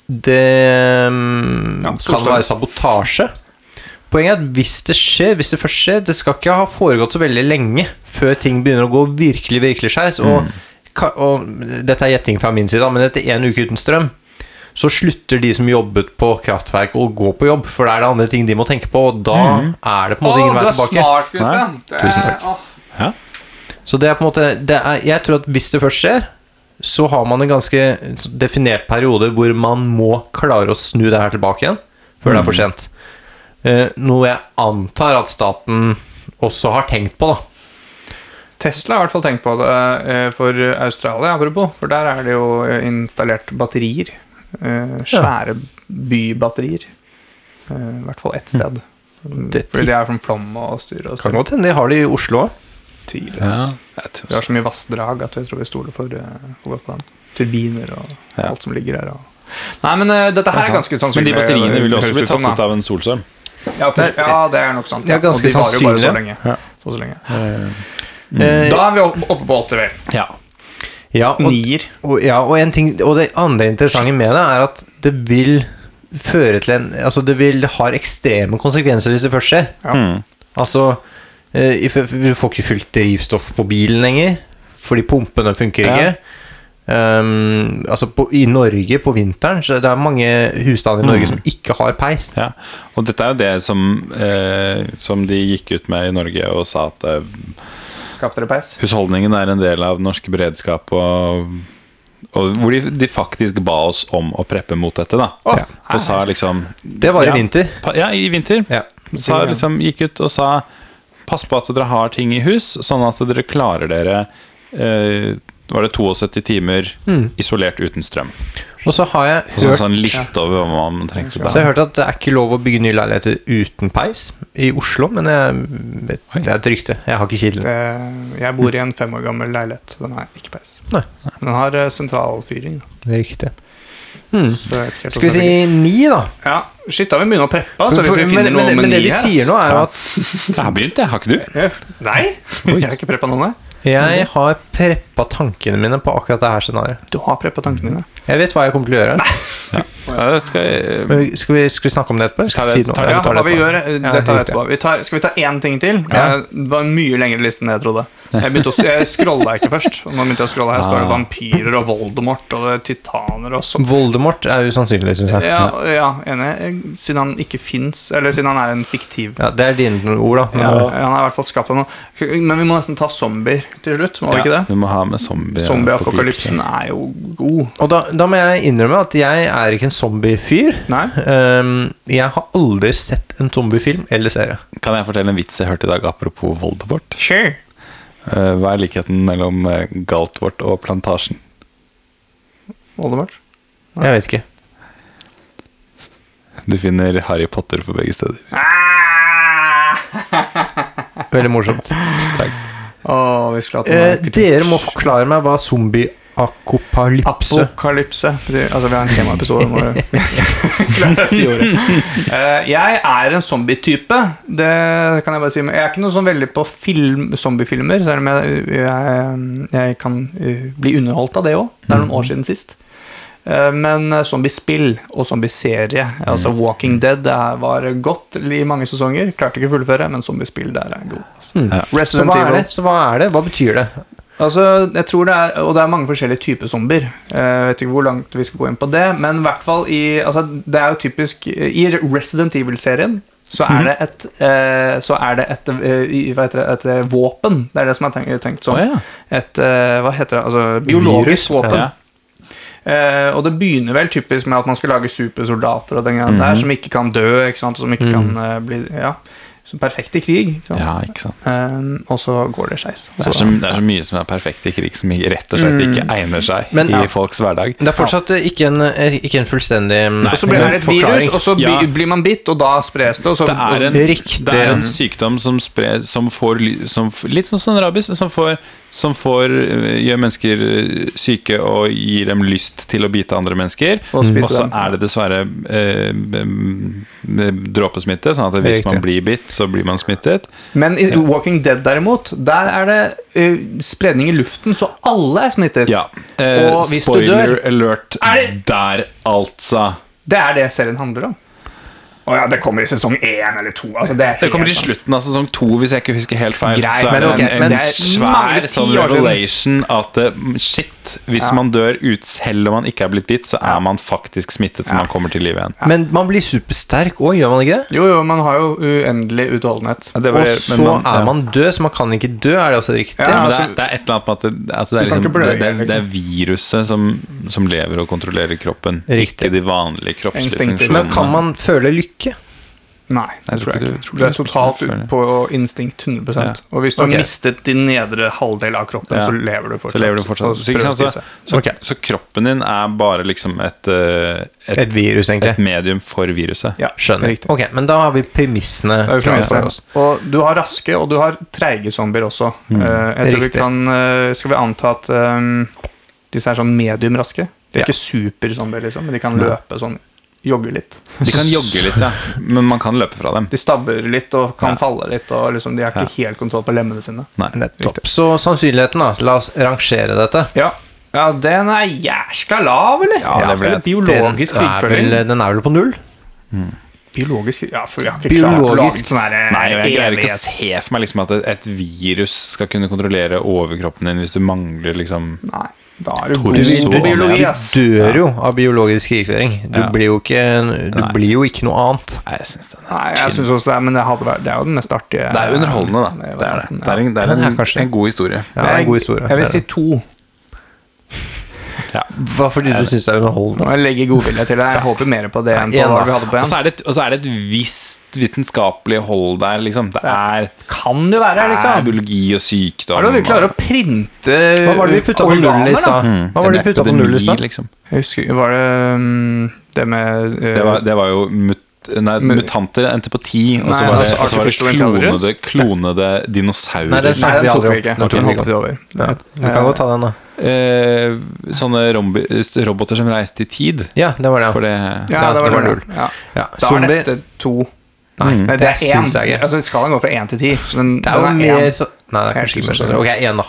Speaker 3: det ehm,
Speaker 1: Ja,
Speaker 3: kan
Speaker 1: solstorm.
Speaker 3: være sabotasje. Poenget er at hvis det skjer, hvis det først skjer Det skal ikke ha foregått så veldig lenge før ting begynner å gå virkelig, virkelig skeis. Og,
Speaker 1: Mm.
Speaker 3: ka- og dette er gjetting fra min side, da, men etter én uke uten strøm så slutter de som jobbet på kraftverk, å gå på jobb. For da er det andre ting de må tenke på, og da er det på
Speaker 1: Mm. Å,
Speaker 3: en måte ingen
Speaker 1: du
Speaker 3: vei
Speaker 1: er
Speaker 3: tilbake.
Speaker 1: smart, Christian!
Speaker 2: Nei,
Speaker 1: Det
Speaker 3: tusen
Speaker 1: er-
Speaker 3: takk.
Speaker 1: åh.
Speaker 3: Så det er på en måte det er, Jeg tror at hvis det først skjer, så har man en ganske definert periode hvor man må klare å snu det her tilbake igjen før det er for sent. Eh, noe jeg antar at staten også har tenkt på, da.
Speaker 1: Tesla har i hvert fall tenkt på det eh, for Australia, apropos. For der er det jo eh, installert batterier. Eh, Svære bybatterier. Eh, I hvert fall ett sted.
Speaker 3: Det
Speaker 1: Fordi det er som flom og styr og
Speaker 3: Kan
Speaker 1: styr.
Speaker 3: godt hende de har det i Oslo òg.
Speaker 1: Tviløs.
Speaker 2: Ja, jeg tror
Speaker 1: Vi har så mye vassdrag at jeg tror vi stoler for, eh, for godt på den. Turbiner og
Speaker 2: Ja.
Speaker 1: alt som ligger her. Og... Nei, men eh, dette her er ganske
Speaker 2: Men
Speaker 1: sannsynlig.
Speaker 2: de batteriene vil jo
Speaker 1: høres
Speaker 2: også bli
Speaker 1: ut som,
Speaker 2: tatt
Speaker 1: da.
Speaker 2: ut av en solstrøm.
Speaker 1: Ja, til- ja, det er nok sant.
Speaker 3: Ja, ganske
Speaker 1: og de varer jo bare Så
Speaker 3: sannsynlig.
Speaker 1: lenge.
Speaker 2: Ja.
Speaker 1: Så, så lenge.
Speaker 3: Eh,
Speaker 1: Da er vi opp- oppe på 8 vel.
Speaker 3: ja. Ja, og,
Speaker 1: Nier.
Speaker 3: og, ja, og, en ting, og det andre interessante med det er at det vil føre til en Altså, det vil det har ekstreme konsekvenser hvis det først skjer.
Speaker 1: Ja.
Speaker 2: Mm.
Speaker 3: Altså, eh, if- if- du får ikke fylt drivstoff på bilen lenger, fordi pumpene funker
Speaker 2: Ja.
Speaker 3: ikke. Um, altså på, I Norge på vinteren Så det er mange husstander i Norge som ikke har peis.
Speaker 2: Ja. Og dette er jo det som, eh, som de gikk ut med i Norge og sa at eh,
Speaker 1: Skaff dere peis.
Speaker 2: husholdningen er en del av den norske beredskap, og, og hvor de, de faktisk ba oss om å preppe mot dette. da
Speaker 1: Å,
Speaker 3: Ja.
Speaker 1: her.
Speaker 2: Og sa liksom
Speaker 3: Det var i
Speaker 2: Ja.
Speaker 3: vinter.
Speaker 2: pa- Ja, i vinter.
Speaker 3: Ja.
Speaker 2: Sa, liksom, gikk ut og sa Pass på at dere har ting i hus, sånn at dere klarer dere eh, Var det 72 timer
Speaker 3: Mm.
Speaker 2: isolert uten strøm?
Speaker 3: Og så har jeg
Speaker 2: Og så en
Speaker 3: hørt
Speaker 2: sånn liste over hva man trengte
Speaker 3: så jeg
Speaker 2: der.
Speaker 3: har hørt at det er ikke lov å bygge nye leiligheter uten peis i Oslo, men jeg, vet-
Speaker 2: Oi.
Speaker 3: det er et rykte. Jeg har ikke kilden.
Speaker 1: Det- Jeg bor i en fem år gammel leilighet. Den har ikke peis.
Speaker 3: Nei.
Speaker 1: Den har eh, sentralfyring. da.
Speaker 3: Det er riktig. Hmm.
Speaker 1: Så jeg vet ikke helt
Speaker 3: Skal vi
Speaker 1: hvordan det
Speaker 3: si ni, da?
Speaker 1: ligger. Ja, shit, da vil vi begynne å preppe. Altså, hvis vi
Speaker 3: Men-
Speaker 1: finner
Speaker 3: men,
Speaker 1: noe
Speaker 3: men,
Speaker 1: med
Speaker 3: men det
Speaker 1: ni
Speaker 3: vi
Speaker 1: her.
Speaker 3: sier nå, er jo
Speaker 2: Ja.
Speaker 3: at
Speaker 2: Jeg har begynt, jeg. Har ikke du?
Speaker 1: Ja. Nei, jeg har ikke preppa noe. nei.
Speaker 3: jeg har preppa tankene mine på akkurat det her scenarioet.
Speaker 1: Du har preppa tankene dine.
Speaker 3: Jeg vet hva jeg kommer til å gjøre.
Speaker 2: Ja, det skal jeg,
Speaker 3: Men skal, vi, skal vi snakke om det etterpå? eller Skal
Speaker 2: Ta det-
Speaker 3: vi si noe?
Speaker 2: ta det-
Speaker 3: Ja,
Speaker 1: Ja,
Speaker 3: vi tar det
Speaker 1: hva vi
Speaker 3: etterpå.
Speaker 1: gjør, eh,
Speaker 3: Ja,
Speaker 1: det tar vi
Speaker 3: riktig.
Speaker 1: etterpå. Vi tar, skal vi ta én ting til?
Speaker 3: Ja.
Speaker 1: Eh, Det var en mye lengre liste enn jeg trodde. Jeg, begynte å, jeg scrolla ikke først. Og nå begynte jeg å scrolle her står
Speaker 3: Ah.
Speaker 1: det vampyrer og Voldemort og det er titaner og så.
Speaker 3: Voldemort er usannsynlig, syns jeg.
Speaker 1: Ja, ja, enig. Eh, Siden han ikke fins, eller siden han er en fiktiv
Speaker 3: Ja, det er dine ord, da. Men,
Speaker 1: Ja, han har i hvert fall skapt noe. Men vi må nesten ta zombier til slutt. Må vi ikke
Speaker 2: ja,
Speaker 1: det?
Speaker 2: du må ha med zombie
Speaker 1: Zombieapokalypsen er jo god.
Speaker 3: Og da, da må jeg innrømme at jeg er ikke en zombiefyr.
Speaker 1: Nei?
Speaker 3: Ehm, jeg har aldri sett en zombiefilm eller serie.
Speaker 2: Kan jeg fortelle en vits jeg hørte i dag apropos Voldemort?
Speaker 1: Sure.
Speaker 2: Eh, Hva er likheten mellom eh, Galtvort og Plantasjen?
Speaker 1: Voldemort.
Speaker 3: Jeg vet ikke.
Speaker 2: Du finner Harry Potter på begge steder.
Speaker 1: Ah!
Speaker 3: Veldig morsomt.
Speaker 1: Å, vi skulle hatt
Speaker 3: Eh,
Speaker 1: noe
Speaker 3: dere må forklare meg hva zombie-akopalypse
Speaker 1: Apokalypse. Altså, vi har en temaepisode. Må vi klare å si ordet. Eh, jeg er en zombietype. Det kan jeg bare si. Men jeg er ikke noe sånn veldig på film, zombiefilmer, selv om jeg, jeg, jeg kan eh, bli underholdt av det òg. Det er noen år siden sist. Eh, Men eh, zombiespill og zombieserie Altså Walking Dead det her var godt i mange sesonger. Klarte ikke å fullføre, men zombiespill der er god. Altså.
Speaker 3: Mm. Så
Speaker 1: Resident
Speaker 3: hva er
Speaker 1: Evil.
Speaker 3: det? Så hva er det? Hva betyr det?
Speaker 1: Altså, jeg tror det er, Og det er mange forskjellige typer zombier. Eh, Jeg vet ikke hvor langt vi skal gå inn på det, men i hvert fall i altså, Det er jo typisk eh, I Resident Evil-serien så
Speaker 2: Mhm.
Speaker 1: er det et, eh, så er det et, eh, i- hva heter det, et eh, våpen. Det er det som er tenkt, tenkt
Speaker 3: Sånn.
Speaker 1: som.
Speaker 2: Å, ja.
Speaker 1: Et eh, hva heter det, altså biologisk våpen.
Speaker 2: Ja.
Speaker 1: Eh, og det begynner vel typisk
Speaker 2: Mhm.
Speaker 1: med at man skal lage supersoldater og den gangen der, som ikke kan dø, ikke sant, og som ikke kan eh, bli Ja. Så perfekt i krig. ikke sant?
Speaker 2: Ja, ikke sant?
Speaker 1: Eh, og så går det skeis.
Speaker 2: Det er, så, det er så mye som er perfekt i krig, som rett og slett ikke egner seg
Speaker 3: Mm. Men-
Speaker 2: i
Speaker 3: Ja.
Speaker 2: folks hverdag.
Speaker 3: Det er fortsatt eh, ikke en, eh, ikke en fullstendig eh,
Speaker 1: Og så blir det et virus,
Speaker 3: forklaring.
Speaker 1: og så bi-
Speaker 2: Ja.
Speaker 1: blir man bitt, og da spres det. Og så,
Speaker 2: Det er en,
Speaker 3: Riktig.
Speaker 2: det er en sykdom som sprer som får, ly- som, f- Litt sånn som rabies, som, får, som får, øh, gjør mennesker øh, syke og gir dem lyst til å bite andre mennesker.
Speaker 1: Og spise
Speaker 2: så
Speaker 1: dem.
Speaker 2: er det dessverre øh, m- m- dråpesmitte, sånn at hvis
Speaker 3: Riktig.
Speaker 2: man blir bitt, så blir man smittet.
Speaker 1: Men i Walking Dead, derimot, der er det eh, spredning i luften, så alle er smittet.
Speaker 2: Ja. Eh,
Speaker 1: Og hvis du
Speaker 2: spoiler
Speaker 1: dør-
Speaker 2: alert
Speaker 1: Er det-
Speaker 2: der, altså.
Speaker 1: Det er det serien handler om. Å ja, det kommer i sesong én eller to. Altså, det, er
Speaker 2: Det kommer i
Speaker 1: helt sant.
Speaker 2: slutten av sesong to, hvis jeg ikke husker helt feil.
Speaker 1: Greit,
Speaker 2: så er
Speaker 3: men
Speaker 2: det
Speaker 3: ok,
Speaker 2: en, en
Speaker 3: men det
Speaker 1: er mange
Speaker 2: svær
Speaker 1: ti
Speaker 2: sånn
Speaker 1: år siden.
Speaker 2: revelation at eh, shit, hvis man dør ut selv om man ikke er blitt bitt, så er man faktisk smittet, så man kommer til live igjen.
Speaker 3: Men man blir supersterk òg, gjør man ikke det?
Speaker 1: Jo, jo, man har jo uendelig utholdenhet.
Speaker 2: Det var-
Speaker 3: Og
Speaker 2: men
Speaker 3: så er man død, så man kan ikke dø. Er det også riktig?
Speaker 2: ja,
Speaker 1: Ja,
Speaker 2: men det,
Speaker 1: altså-
Speaker 2: er, det er et eller annet med at det, altså det, er
Speaker 1: Du kan
Speaker 2: liksom,
Speaker 1: ikke blø
Speaker 2: det, det,
Speaker 1: igjen,
Speaker 2: det er viruset som, som lever og kontrollerer kroppen,
Speaker 3: Riktig.
Speaker 2: ikke de vanlige kroppslige
Speaker 1: Instinkter.
Speaker 2: funksjonene.
Speaker 3: Men kan man føle lykke?
Speaker 1: Nei,
Speaker 2: Nei,
Speaker 1: det tror jeg
Speaker 2: du-
Speaker 1: ikke.
Speaker 2: tror
Speaker 1: Du
Speaker 2: du
Speaker 1: er
Speaker 2: ikke
Speaker 1: totalt
Speaker 2: føler
Speaker 1: ut
Speaker 2: det.
Speaker 1: på instinkt 100
Speaker 2: Ja.
Speaker 1: Og hvis du har
Speaker 3: Ok.
Speaker 1: mistet din nedre halvdel av kroppen,
Speaker 2: Ja.
Speaker 1: så lever du fortsatt.
Speaker 2: Så lever du fortsatt.
Speaker 1: og
Speaker 2: Så, ikke sant, så,
Speaker 1: prøvespise.
Speaker 2: så,
Speaker 3: Ok.
Speaker 2: så kroppen din er bare liksom et, eh, et,
Speaker 3: Et virus,
Speaker 2: et
Speaker 3: egentlig.
Speaker 2: medium for viruset.
Speaker 1: Ja,
Speaker 3: Skjønner.
Speaker 1: Riktig.
Speaker 3: Ok, Men da har vi premissene
Speaker 1: Det er jo klart,
Speaker 3: klare for oss.
Speaker 1: ja. Og du har raske, og du har treige zombier også.
Speaker 2: Mm.
Speaker 1: Eh, jeg tror vi
Speaker 3: Riktig.
Speaker 1: kan eh, Skal vi anta at eh, disse er sånn medium raske? De er
Speaker 3: Ja.
Speaker 1: ikke superzombier, liksom, men de kan løpe sånn. Jogge litt.
Speaker 2: De kan jogge litt, ja, men man kan løpe fra dem.
Speaker 1: De stabber litt og kan
Speaker 2: Ja.
Speaker 1: falle litt. Og liksom, de har ikke helt kontroll på lemmene sine.
Speaker 2: Nei.
Speaker 3: Nettopp. Så sannsynligheten, da. La oss rangere dette.
Speaker 1: Ja, ja den er jæskla lav, eller?
Speaker 2: Ja, det ble-
Speaker 1: eller biologisk
Speaker 3: den, er
Speaker 1: krigføring.
Speaker 3: vel, den er vel på null?
Speaker 1: Biologisk Ja, for vi har ikke klart å lage
Speaker 3: Biologisk-
Speaker 1: sånn her eh,
Speaker 2: Nei, og jeg greier ikke å
Speaker 1: evighets-
Speaker 2: se for meg liksom at et, et virus skal kunne kontrollere overkroppen din hvis du mangler liksom
Speaker 1: Nei, da er du
Speaker 2: Tror
Speaker 1: god
Speaker 2: du
Speaker 3: vil-
Speaker 1: på
Speaker 3: du-
Speaker 1: biologi,
Speaker 3: Du
Speaker 1: ass.
Speaker 3: dør jo av biologisk krigføring. Du,
Speaker 2: Ja.
Speaker 3: blir, jo ikke, du
Speaker 2: Nei.
Speaker 3: blir jo ikke noe annet.
Speaker 2: Nei, jeg synes den er
Speaker 1: Nei, jeg
Speaker 2: tynn.
Speaker 1: synes også det, er- men det, hadde vært, det er jo den mest artige
Speaker 2: Det er underholdende, da. Det er det. Det er en, det er
Speaker 3: Den er
Speaker 2: en,
Speaker 3: kanskje-
Speaker 2: en god historie.
Speaker 3: Ja, det er en god historie.
Speaker 1: Jeg vil
Speaker 3: Det er
Speaker 1: si to.
Speaker 2: Ja.
Speaker 3: det. Hva fordi du syns det er underholdende?
Speaker 1: Nå legger jeg godvilje til deg. Jeg håper mer på det enn på
Speaker 3: Ja, en,
Speaker 1: hva
Speaker 3: da.
Speaker 1: vi hadde på
Speaker 2: Og
Speaker 1: en.
Speaker 2: så er, det et- og så er det et visst vitenskapelig hold der, liksom. Det er,
Speaker 1: Kan det være,
Speaker 2: er
Speaker 1: liksom?
Speaker 2: biologi og sykdom.
Speaker 1: Har du vi klarer å printe
Speaker 3: Hva var det vi putta på null i
Speaker 1: organer, da?
Speaker 3: stad?
Speaker 2: Mm.
Speaker 3: Hva var det vi putta på null i stad?
Speaker 2: Liksom.
Speaker 1: Jeg husker, var det mm, det med eh,
Speaker 2: Det var, det var jo mut, nei,
Speaker 1: Mu-
Speaker 2: mutanter endte på ti, og så
Speaker 1: Nei,
Speaker 2: var det,
Speaker 1: altså
Speaker 2: og så var det
Speaker 1: artificial intelligence.
Speaker 2: klonede, klonede dinosaurer.
Speaker 3: Nei, det
Speaker 1: Nei,
Speaker 3: snakket
Speaker 1: den
Speaker 3: vi
Speaker 1: tok
Speaker 3: aldri
Speaker 1: vi
Speaker 3: om.
Speaker 1: ikke.
Speaker 3: Den tok
Speaker 1: Den
Speaker 3: vi
Speaker 1: hoppet
Speaker 3: ikke.
Speaker 1: vi over.
Speaker 3: Ja. Du kan godt ta den, da.
Speaker 2: eh, Sånne rombi, roboter som reiste i tid.
Speaker 3: Ja, det var det.
Speaker 2: For
Speaker 3: ja.
Speaker 2: det
Speaker 1: Ja, det var null. Ja.
Speaker 3: Ja,
Speaker 1: Da er
Speaker 3: zombie
Speaker 1: dette to.
Speaker 3: Nei,
Speaker 1: Nei, det
Speaker 3: det
Speaker 1: er én.
Speaker 3: syns jeg ikke.
Speaker 1: Altså, skalaen går fra én til ti. så Den,
Speaker 3: Det er jo
Speaker 1: den
Speaker 3: mer
Speaker 1: én.
Speaker 3: så Nei, det er kanskje ikke mer sånn. Ok, én, da.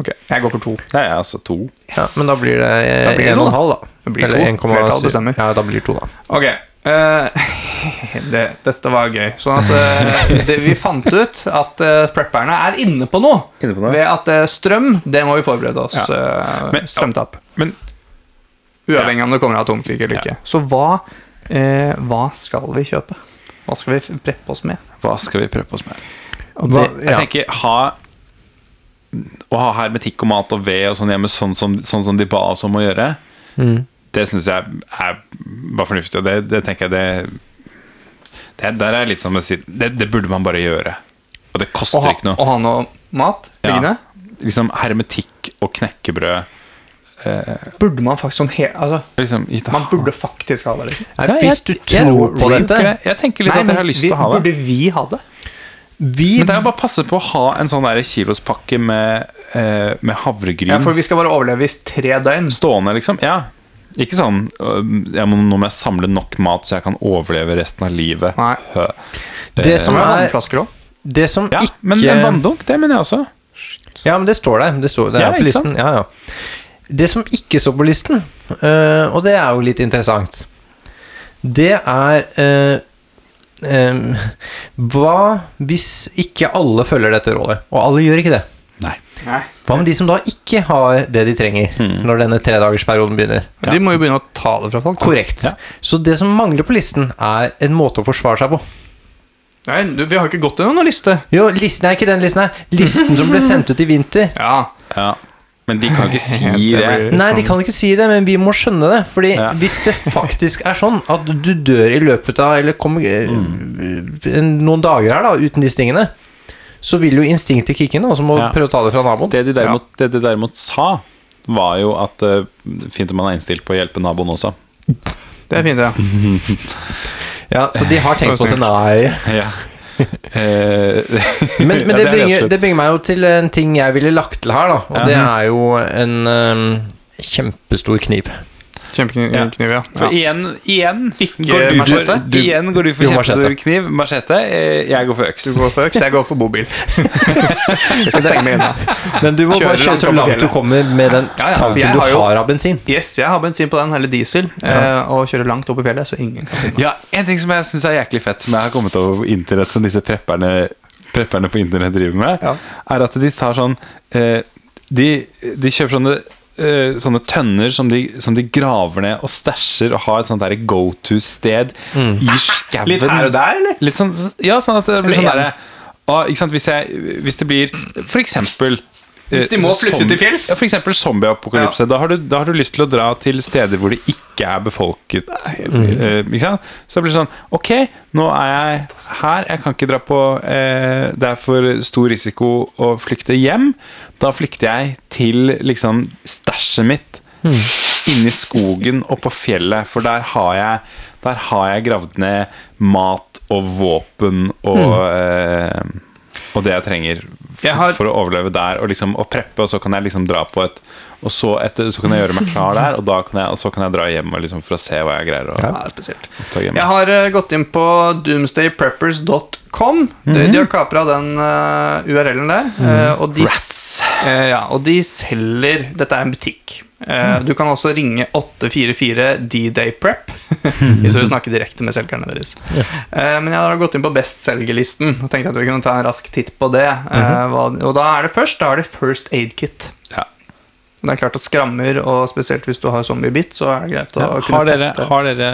Speaker 1: Ok, jeg går for to.
Speaker 2: Ja, ja, altså to.
Speaker 3: Ja, men da blir det
Speaker 1: Da blir det
Speaker 3: én og
Speaker 1: to,
Speaker 3: en halv, da.
Speaker 1: Det blir
Speaker 3: Eller
Speaker 1: to.
Speaker 3: 1,7.
Speaker 1: Flertall bestemmer.
Speaker 3: Ja, da blir det to, da.
Speaker 1: Ok. eh, det, dette var gøy. Sånn at eh, det, vi fant ut at eh, prepperne er inne på noe.
Speaker 2: Inne på noe.
Speaker 1: Ved at eh, strøm, det må vi forberede oss.
Speaker 2: Ja.
Speaker 1: eh,
Speaker 2: Men-
Speaker 1: strømtap.
Speaker 2: Men
Speaker 1: Uavhengig om det kommer atomkrig eller ikke. Så hva, eh, hva skal vi kjøpe? Hva skal vi f- preppe oss med?
Speaker 2: hva skal vi prøve oss med?
Speaker 1: Og
Speaker 3: Hva,
Speaker 1: det-
Speaker 2: Jeg
Speaker 3: ja.
Speaker 2: tenker ha å ha hermetikk og mat og ved og sånn hjemme, sånn som, sånn som de ba oss om å gjøre, det syns jeg er, var fornuftig. Og det, det tenker jeg det, det Der er jeg litt sånn med å si det, det burde man bare gjøre. Og det
Speaker 1: å,
Speaker 2: koster
Speaker 1: ha,
Speaker 2: ikke noe.
Speaker 1: å ha noe mat liggende?
Speaker 2: liksom hermetikk og knekkebrød
Speaker 1: Burde man faktisk sånn he altså,
Speaker 2: liksom, i-
Speaker 1: Man burde faktisk ha det. Liksom.
Speaker 3: Nei,
Speaker 2: Ja, jeg-
Speaker 3: Hvis du
Speaker 2: jeg
Speaker 3: tror på
Speaker 2: tenker
Speaker 3: dette
Speaker 2: det. Jeg tenker litt at jeg har lyst
Speaker 1: vi,
Speaker 2: til å ha det.
Speaker 1: burde vi ha det?
Speaker 3: Vi
Speaker 2: Men det er jo bare å passe på å ha en sånn der kilospakke med, eh, med havregryn
Speaker 1: Ja, for vi skal bare overleve i tre døgn.
Speaker 2: stående, liksom. Ja. Ikke sånn øh, jeg må, Nå må jeg samle nok mat så jeg kan overleve resten av livet.
Speaker 1: Nei.
Speaker 2: Hø.
Speaker 3: Det som
Speaker 1: Som er
Speaker 3: er
Speaker 1: vannflasker òg.
Speaker 3: Det som
Speaker 2: Ja,
Speaker 3: ikke
Speaker 2: men en vanndunk, det mener jeg også.
Speaker 3: Ja, men det står der. Det, står, det
Speaker 2: Ja,
Speaker 3: er på
Speaker 2: ikke sant?
Speaker 3: listen. Ja, ja. Det som ikke står på listen, eh, og det er jo litt interessant, det er eh, eh, Hva hvis ikke alle følger dette rådet, og alle gjør ikke det?
Speaker 2: Nei.
Speaker 3: Hva med de som da ikke har det de trenger
Speaker 2: Hmm.
Speaker 3: når denne tredagersperioden begynner?
Speaker 1: De må jo begynne å ta det fra folk.
Speaker 3: Korrekt.
Speaker 2: Ja.
Speaker 3: Så det som mangler på listen, er en måte å forsvare seg på.
Speaker 1: Nei, du, Vi har ikke gått gjennom noen liste.
Speaker 3: Jo, listen er ikke den listen her. Listen som ble sendt ut i vinter.
Speaker 1: Ja,
Speaker 2: Ja. Men de kan ikke si
Speaker 1: Det
Speaker 2: det.
Speaker 1: blir-
Speaker 3: Nei, de kan ikke si det, men vi må skjønne det. Fordi
Speaker 2: Ja.
Speaker 3: hvis det faktisk er sånn at du dør i løpet av Eller kommer eh,
Speaker 1: Mm.
Speaker 3: en- noen dager her, da, uten disse tingene, så vil jo instinktet kicke inn, og så må du
Speaker 2: Ja.
Speaker 3: prøve å ta det fra naboen.
Speaker 2: Det de derimot, det de derimot sa, var jo at eh, fint om man er innstilt på å hjelpe naboen også.
Speaker 1: Det er fint, ja.
Speaker 2: Mhm.
Speaker 3: Ja, så de har tenkt på scenarioet.
Speaker 2: Ja. Eh,
Speaker 3: Men, men
Speaker 2: Ja,
Speaker 3: det,
Speaker 2: det er helt
Speaker 3: bringer,
Speaker 2: slutt.
Speaker 3: det bringer meg jo til en ting jeg ville lagt til her, da. Og
Speaker 2: Ja.
Speaker 3: det er jo en eh, kjempestor kniv.
Speaker 2: Ja.
Speaker 1: Kjempekniv, ja.
Speaker 2: For
Speaker 1: ja.
Speaker 2: igjen, igjen, går du for,
Speaker 1: machete?
Speaker 2: du, igjen går du
Speaker 3: Jo,
Speaker 2: for
Speaker 3: machete.
Speaker 2: kjempestor kniv, machete. eh, Jeg går for øks.
Speaker 1: Du går for øks, jeg går for bobil. Jeg skal stenge meg inne.
Speaker 3: Men du må
Speaker 1: Kjører
Speaker 3: bare kjøre
Speaker 1: langt
Speaker 3: så
Speaker 1: opp på
Speaker 3: langt du
Speaker 1: fjellet.
Speaker 3: kommer med den
Speaker 1: Ja, ja, for jeg
Speaker 3: tanken du
Speaker 1: har jo-
Speaker 3: har av bensin.
Speaker 1: Yes, jeg har bensin på den, eller diesel, eh, og kjører langt opp i fjellet, så ingen kan finne meg.
Speaker 2: Ja, En ting som jeg syns er jæklig fett, som jeg har kommet over på internett, som disse prepperne, prepperne på internett driver med,
Speaker 1: Ja.
Speaker 2: er at de tar sånn eh, De, de kjøper sånne eh, Sånne tønner som de, som de graver ned og stæsjer og har et sånt der go to-sted i skauen.
Speaker 1: Mm. Litt her og der, eller?
Speaker 2: Litt sånn, ja, sånn at det blir sånn
Speaker 1: Eller
Speaker 2: derre ah, ikke sant, hvis, jeg, hvis det blir For eksempel eh,
Speaker 1: Hvis de må flytte
Speaker 2: zomb-
Speaker 1: til fjells?
Speaker 2: Ja, for eksempel zombieapokalypse. Da, har du- da har du lyst til å dra til steder hvor det ikke er befolket. eh, ikke sant? Så det blir sånn Ok, nå er jeg her. Jeg kan ikke dra på eh, Det er for stor risiko å flykte hjem. Da flykter jeg til liksom stæsjet mitt. Inni skogen og på fjellet, for der har jeg Der har jeg gravd ned mat og våpen og eh, og det jeg trenger f
Speaker 1: Mm. Jeg har-
Speaker 2: for å overleve der, og liksom og preppe, og så kan jeg liksom dra på et Og så, etter, så kan jeg gjøre meg klar der, og, da kan jeg, og så kan jeg dra hjem og liksom for å se hva jeg greier å
Speaker 1: Ja, det er spesielt.
Speaker 2: ta hjem.
Speaker 1: Jeg har eh, gått inn på doomsdaypreppers.com. De,
Speaker 2: Mhm.
Speaker 1: de har kapra den eh, URL-en der.
Speaker 2: Mm.
Speaker 1: eh, og, de, s- eh, ja, og de selger Dette er en butikk. Eh,
Speaker 2: Mm.
Speaker 1: Du kan også ringe 844 D-Day-Prep hvis du vil snakke direkte med selgerne deres. Eh, Men jeg har gått inn på bestselgerlisten og tenkte at vi kunne ta en rask titt på det. Eh, hva- Og da er det først da er det First Aid Kit.
Speaker 2: Mhm. Ja.
Speaker 1: Det er klart at Skrammer, og spesielt hvis du har zombiebitt, så er det greit å
Speaker 2: Ja,
Speaker 1: kunne
Speaker 2: har, dere,
Speaker 1: tette.
Speaker 2: har dere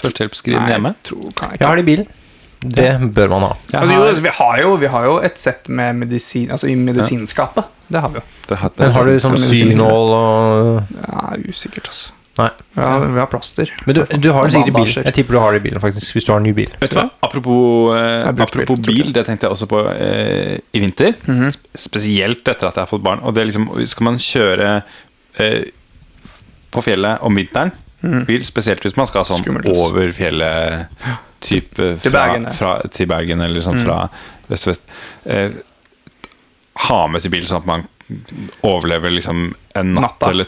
Speaker 2: førstehjelpsskrin
Speaker 1: Nei,
Speaker 2: hjemme?
Speaker 1: jeg tror, kan jeg ikke
Speaker 3: Jeg har det i bilen. Det bør man ha.
Speaker 2: Jeg
Speaker 1: altså, jo,
Speaker 2: har-
Speaker 1: altså, vi, har jo, vi har jo et sett med medisin, altså, i medisinskapet. Det har vi jo.
Speaker 2: dere har hatt
Speaker 3: Men har du
Speaker 2: det.
Speaker 3: sånn
Speaker 1: Kan du si det?
Speaker 3: synål og
Speaker 1: Ja, usikkert, altså.
Speaker 3: Nei.
Speaker 1: Ja, vi har plaster.
Speaker 3: Men du, du har det
Speaker 1: Og
Speaker 3: sikkert i bilen.
Speaker 1: bandasjer.
Speaker 3: Jeg tipper du har det i bilen, faktisk. Hvis du har en ny bil.
Speaker 2: Vet du hva? Apropos, eh,
Speaker 1: Jeg har brukt bil,
Speaker 2: apropos
Speaker 1: tror jeg.
Speaker 2: bil, det tenkte jeg også på eh, i vinter.
Speaker 1: Mhm.
Speaker 2: Spesielt etter at jeg har fått barn. Og det er liksom, Skal man kjøre eh, på fjellet om vinteren, bil, spesielt hvis man skal sånn
Speaker 1: Mhm. Skummelt, ass.
Speaker 2: over fjellet type
Speaker 1: Til
Speaker 2: fra,
Speaker 1: Bergen, ja. Mhm.
Speaker 2: fra, til Bergen eller sånn fra øst til vest. Eh, ha med til bil, sånn at man overlever liksom en natt
Speaker 1: Natta. Oh. Mm.
Speaker 2: eller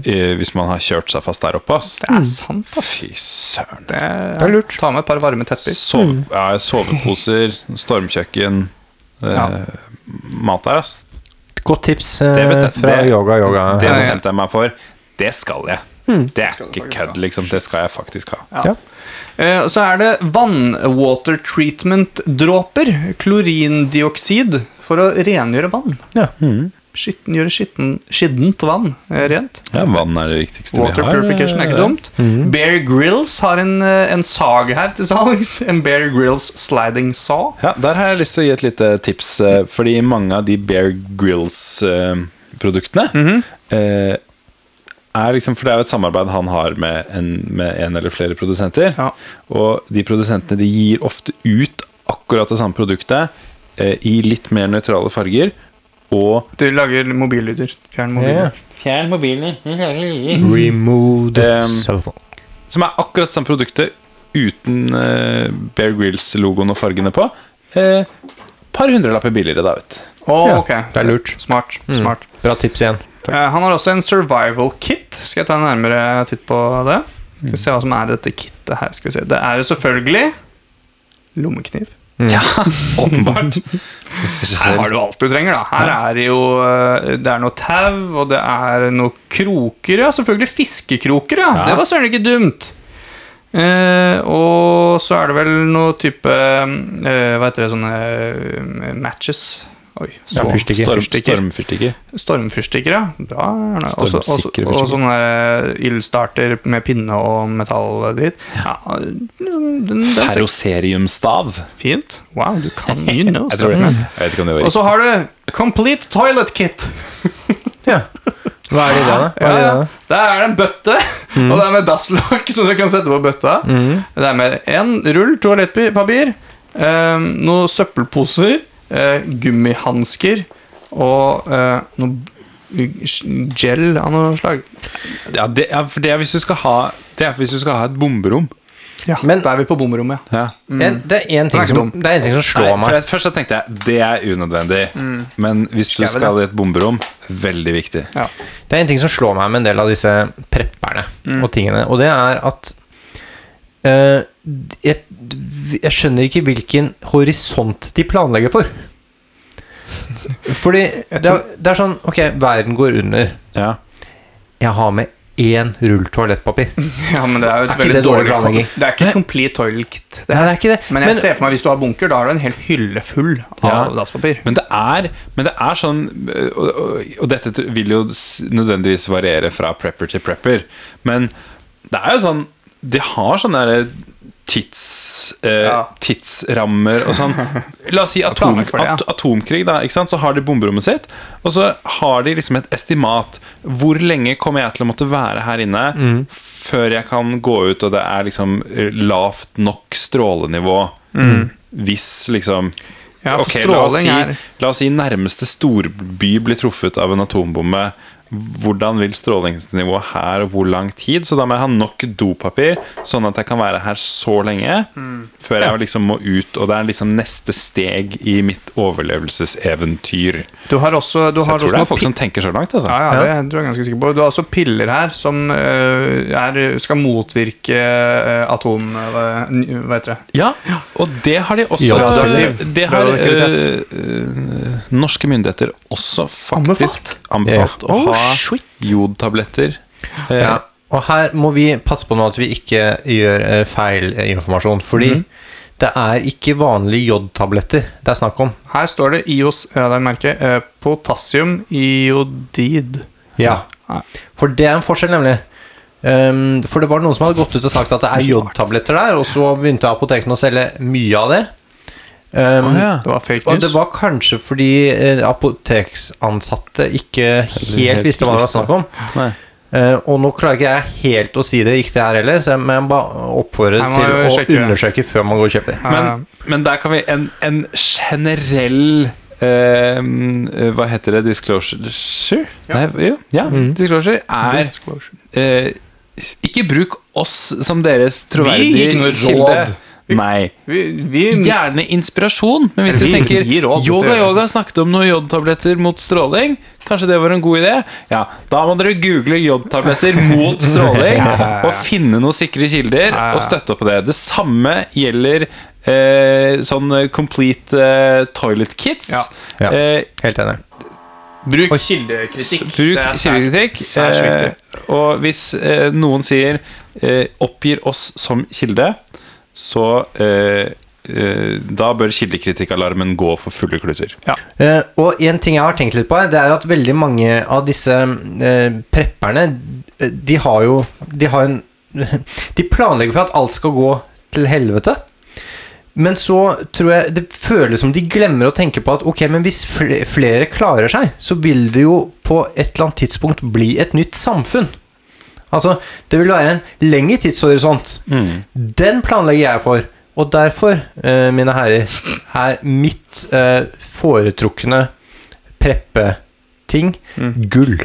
Speaker 2: to eh, hvis man har kjørt seg fast der oppe. Ass.
Speaker 1: Det er sant, ass.
Speaker 2: Fy søren.
Speaker 1: Mm. Det er,
Speaker 3: Det er lurt.
Speaker 1: Ta med et par varme tepper.
Speaker 2: Sove, ja, soveposer, stormkjøkken, eh,
Speaker 1: Ja.
Speaker 2: mat der, ass.
Speaker 3: Godt tips eh,
Speaker 2: Det bestemte-
Speaker 3: fra
Speaker 2: det-
Speaker 3: Yoga Yoga.
Speaker 2: Det
Speaker 1: ja. Mm.
Speaker 2: bestemte jeg meg for. Det skal jeg. Det er
Speaker 1: Skal du
Speaker 2: ikke
Speaker 1: faktisk
Speaker 2: kødd,
Speaker 1: ha.
Speaker 2: liksom. Det skal jeg faktisk ha.
Speaker 3: Ja.
Speaker 1: Eh, og så er det vannwater treatment-dråper. Klorindioksid for å rengjøre vann.
Speaker 3: Ja.
Speaker 1: Skitten, gjøre skitten, skittent vann eh, rent.
Speaker 2: Ja, vann er det viktigste
Speaker 1: Water
Speaker 2: vi har. eh, mm.
Speaker 1: purification er ikke dumt. Bear Grills har en, eh, en sag her til salgs. En Bear Grills sliding saw.
Speaker 2: Ja, der har jeg lyst til å gi et lite tips, eh, fordi mange av de Bear Grills-produktene eh, er liksom, For det er jo et samarbeid han har med en, med en eller flere produsenter.
Speaker 1: Ja.
Speaker 2: Og de produsentene de gir ofte ut akkurat det samme produktet eh, i litt mer nøytrale farger. Og
Speaker 1: Du lager mobillyder. Fjern mobilen.
Speaker 3: Ja. Remove the
Speaker 2: Um,
Speaker 3: cell phone.
Speaker 2: som er akkurat det samme produktet uten eh, Bear Grills-logoen og fargene på. Eh, par hundrelapper billigere, da, vet du.
Speaker 1: Å,
Speaker 3: Ja, Mm.
Speaker 1: ok.
Speaker 3: det er lurt.
Speaker 1: Smart. smart.
Speaker 3: Bra tips igjen.
Speaker 1: Eh, han har også en survival kit. Skal jeg ta en nærmere titt på det? Skal
Speaker 3: Mm.
Speaker 1: vi se hva som er i dette kittet her. Skal vi se. Det er jo selvfølgelig lommekniv.
Speaker 2: Åpenbart.
Speaker 1: Her har du alt du trenger, da. Her er det jo eh, Det er noe tau, og det er noe kroker, ja. Selvfølgelig fiskekroker, ja.
Speaker 2: Ja.
Speaker 1: Det var søren ikke dumt. Eh, og så er det vel noe type eh, Hva heter det, sånne eh, matches Oi,
Speaker 3: Ja,
Speaker 1: så-
Speaker 3: fyrstikker.
Speaker 2: Storm,
Speaker 1: Fyrstikker.
Speaker 2: stormfyrstikker.
Speaker 1: Stormfyrstikker, ja. Bra. Arne. Også-
Speaker 2: Stormsikre
Speaker 1: også-
Speaker 2: fyrstikker.
Speaker 1: Og sånne der eh, ildstarter med pinne og metalldritt. Ja, den, den den ser
Speaker 2: Ferroseriumstav.
Speaker 1: fint Wow, du kan you know
Speaker 2: Jeg tror
Speaker 1: stuff,
Speaker 2: det.
Speaker 1: man.
Speaker 2: Jeg vet ikke om det
Speaker 1: Og
Speaker 2: var riktig.
Speaker 1: så har du Complete Toilet Kit.
Speaker 3: ja. Hva er ideene? Hva er
Speaker 1: Ja,
Speaker 3: ideene?
Speaker 1: der er det en bøtte,
Speaker 3: Mm.
Speaker 1: og det er med dasslokk som du kan sette på bøtta. Det er med en rull toalettpapir, eh, noen søppelposer, eh, gummihansker og eh, noe gel av noe slag.
Speaker 2: Ja, det, ja, for det er hvis du skal ha Det er hvis du skal ha et bomberom.
Speaker 1: Ja,
Speaker 3: Men-
Speaker 1: Da er vi på bomrommet. ja.
Speaker 2: Ja.
Speaker 3: En, det er én ting,
Speaker 1: Den er ikke
Speaker 3: som-
Speaker 1: dum.
Speaker 3: det er en ting som
Speaker 2: Nei,
Speaker 3: slår
Speaker 2: for
Speaker 3: meg.
Speaker 2: jeg, først så tenkte jeg det er unødvendig. Men hvis du
Speaker 1: Skrevet,
Speaker 2: skal i et bomberom, veldig viktig.
Speaker 1: Ja.
Speaker 3: Det er en ting som slår meg med en del av disse prepperne
Speaker 1: Mm.
Speaker 3: og tingene, og det er at eh, jeg, jeg skjønner ikke hvilken horisont de planlegger for. Fordi det er, det er sånn Ok, verden går under.
Speaker 2: Ja.
Speaker 3: Jeg har med én rull toalettpapir. Nei,
Speaker 1: ja, men det er jo
Speaker 3: Er
Speaker 1: et
Speaker 3: ikke
Speaker 1: veldig
Speaker 3: det dårlig
Speaker 1: dårlig
Speaker 3: planlegging?
Speaker 1: Det er ikke complete toilet kit. Det
Speaker 3: det
Speaker 1: er,
Speaker 3: er ikke det.
Speaker 1: men jeg ser for meg hvis du har bunker, da har du en hel hylle full av
Speaker 2: Ja.
Speaker 1: dasspapir.
Speaker 2: Men det er, men det er sånn øh, og, og, og dette t- vil jo s- nødvendigvis variere fra prepper til prepper. Men det er jo sånn De har sånne der øh, tids, øh,
Speaker 1: Ja.
Speaker 2: tidsrammer og sånn. La oss si atom,
Speaker 1: planlagt for det, ja.
Speaker 2: at, atomkrig, da. Ikke sant? Så har de bomberommet sitt, og så har de liksom et estimat. Hvor lenge kommer jeg til å måtte være her inne
Speaker 1: Mm.
Speaker 2: før jeg kan gå ut, og det er liksom øh, lavt nok strålenivå?
Speaker 1: Mm.
Speaker 2: Hvis liksom
Speaker 1: Ja, for
Speaker 2: Ok, la oss,
Speaker 1: stråling
Speaker 2: si,
Speaker 1: er-
Speaker 2: la oss si nærmeste storby blir truffet av en atombombe. Hvordan vil strålingsnivået her, og hvor lang tid? Så da må jeg ha nok dopapir, sånn at jeg kan være her så lenge før jeg liksom må ut. Og det er liksom neste steg i mitt overlevelseseventyr.
Speaker 1: Du har også, du har
Speaker 2: Så jeg tror
Speaker 1: også
Speaker 2: det
Speaker 1: noen
Speaker 2: er folk som tenker så langt, altså.
Speaker 1: Ja, ja, det tror jeg er ganske sikker på. Du har også piller her som øh, er, skal motvirke øh, atom... Hva, hva heter det?
Speaker 2: Ja, og det har de også
Speaker 1: Radioaktiv.
Speaker 2: Det har
Speaker 1: Radioaktivitet.
Speaker 2: øh, øh, norske myndigheter også faktisk anbefalt å
Speaker 3: Oh,
Speaker 2: ha jodtabletter. eh,
Speaker 3: Ja, og her må vi passe på nå at vi ikke gjør eh, feil eh, informasjon, fordi
Speaker 1: Mm.
Speaker 3: det er ikke vanlige jodtabletter det er snakk om.
Speaker 1: Her står det IOS, ja, det er merket, øh, potassium iodid.
Speaker 3: Ja. For det er en forskjell, nemlig. Ehm, for det var noen som hadde gått ut og sagt at det er jodtabletter der, og så begynte apotekene å selge mye av det. Ehm,
Speaker 2: Å, ja.
Speaker 1: Det var fake
Speaker 3: Og det
Speaker 1: news.
Speaker 3: var kanskje fordi eh, apoteksansatte ikke helt
Speaker 2: helt
Speaker 3: visste hva det var
Speaker 2: visste.
Speaker 3: snakk om.
Speaker 2: Nei.
Speaker 3: Eh, og nå klarer ikke jeg helt å si det riktig her heller, så jeg må bare oppfordre
Speaker 1: Nei, man
Speaker 3: til
Speaker 1: må
Speaker 3: å
Speaker 1: jo sjekke det.
Speaker 3: undersøke før man går og kjøper.
Speaker 1: Ja.
Speaker 2: Men, men der kan vi En, en generell eh, Hva heter det? Disclosure? Nei, jo, ja,
Speaker 3: Mm.
Speaker 2: disclosure er
Speaker 1: Disclosure.
Speaker 2: eh, Ikke bruk oss som deres
Speaker 1: gir
Speaker 2: troverdige
Speaker 1: ikke noe råd.
Speaker 2: Nei.
Speaker 1: Vi, vi,
Speaker 2: Gjerne inspirasjon, men hvis du
Speaker 1: Vi
Speaker 2: tenker
Speaker 1: gir råd,
Speaker 2: Yoga
Speaker 1: det-
Speaker 2: Yoga snakket om noen jodtabletter mot stråling, kanskje det var en god idé? Ja, da må dere google jodtabletter mot stråling og finne noen sikre kilder
Speaker 1: ja, ja.
Speaker 2: og støtte opp på det. Det samme gjelder eh, sånn eh, complete eh, toilet kits.
Speaker 1: Ja.
Speaker 3: Ja.
Speaker 2: Eh,
Speaker 3: Helt enig.
Speaker 1: bruk kildekritikk.
Speaker 2: Bruk
Speaker 1: Det er sær-
Speaker 2: kildekritikk.
Speaker 1: særs viktig.
Speaker 2: eh, og hvis eh, noen sier eh, 'oppgir oss som kilde', så eh, eh, Da bør kildekritikkalalarmen gå for fulle kluter.
Speaker 1: Ja.
Speaker 3: Eh, og en ting jeg har tenkt litt på her, det er at veldig mange av disse eh, prepperne, eh, de har jo De har en De planlegger for at alt skal gå til helvete. Men så tror jeg det føles som de glemmer å tenke på at ok, men hvis fl- flere klarer seg, så vil det jo på et eller annet tidspunkt bli et nytt samfunn. Altså, det vil være en lengre tidshorisont.
Speaker 1: Mm.
Speaker 3: Den planlegger jeg for. Og derfor, eh, mine herrer, er mitt eh, foretrukne preppeting gull.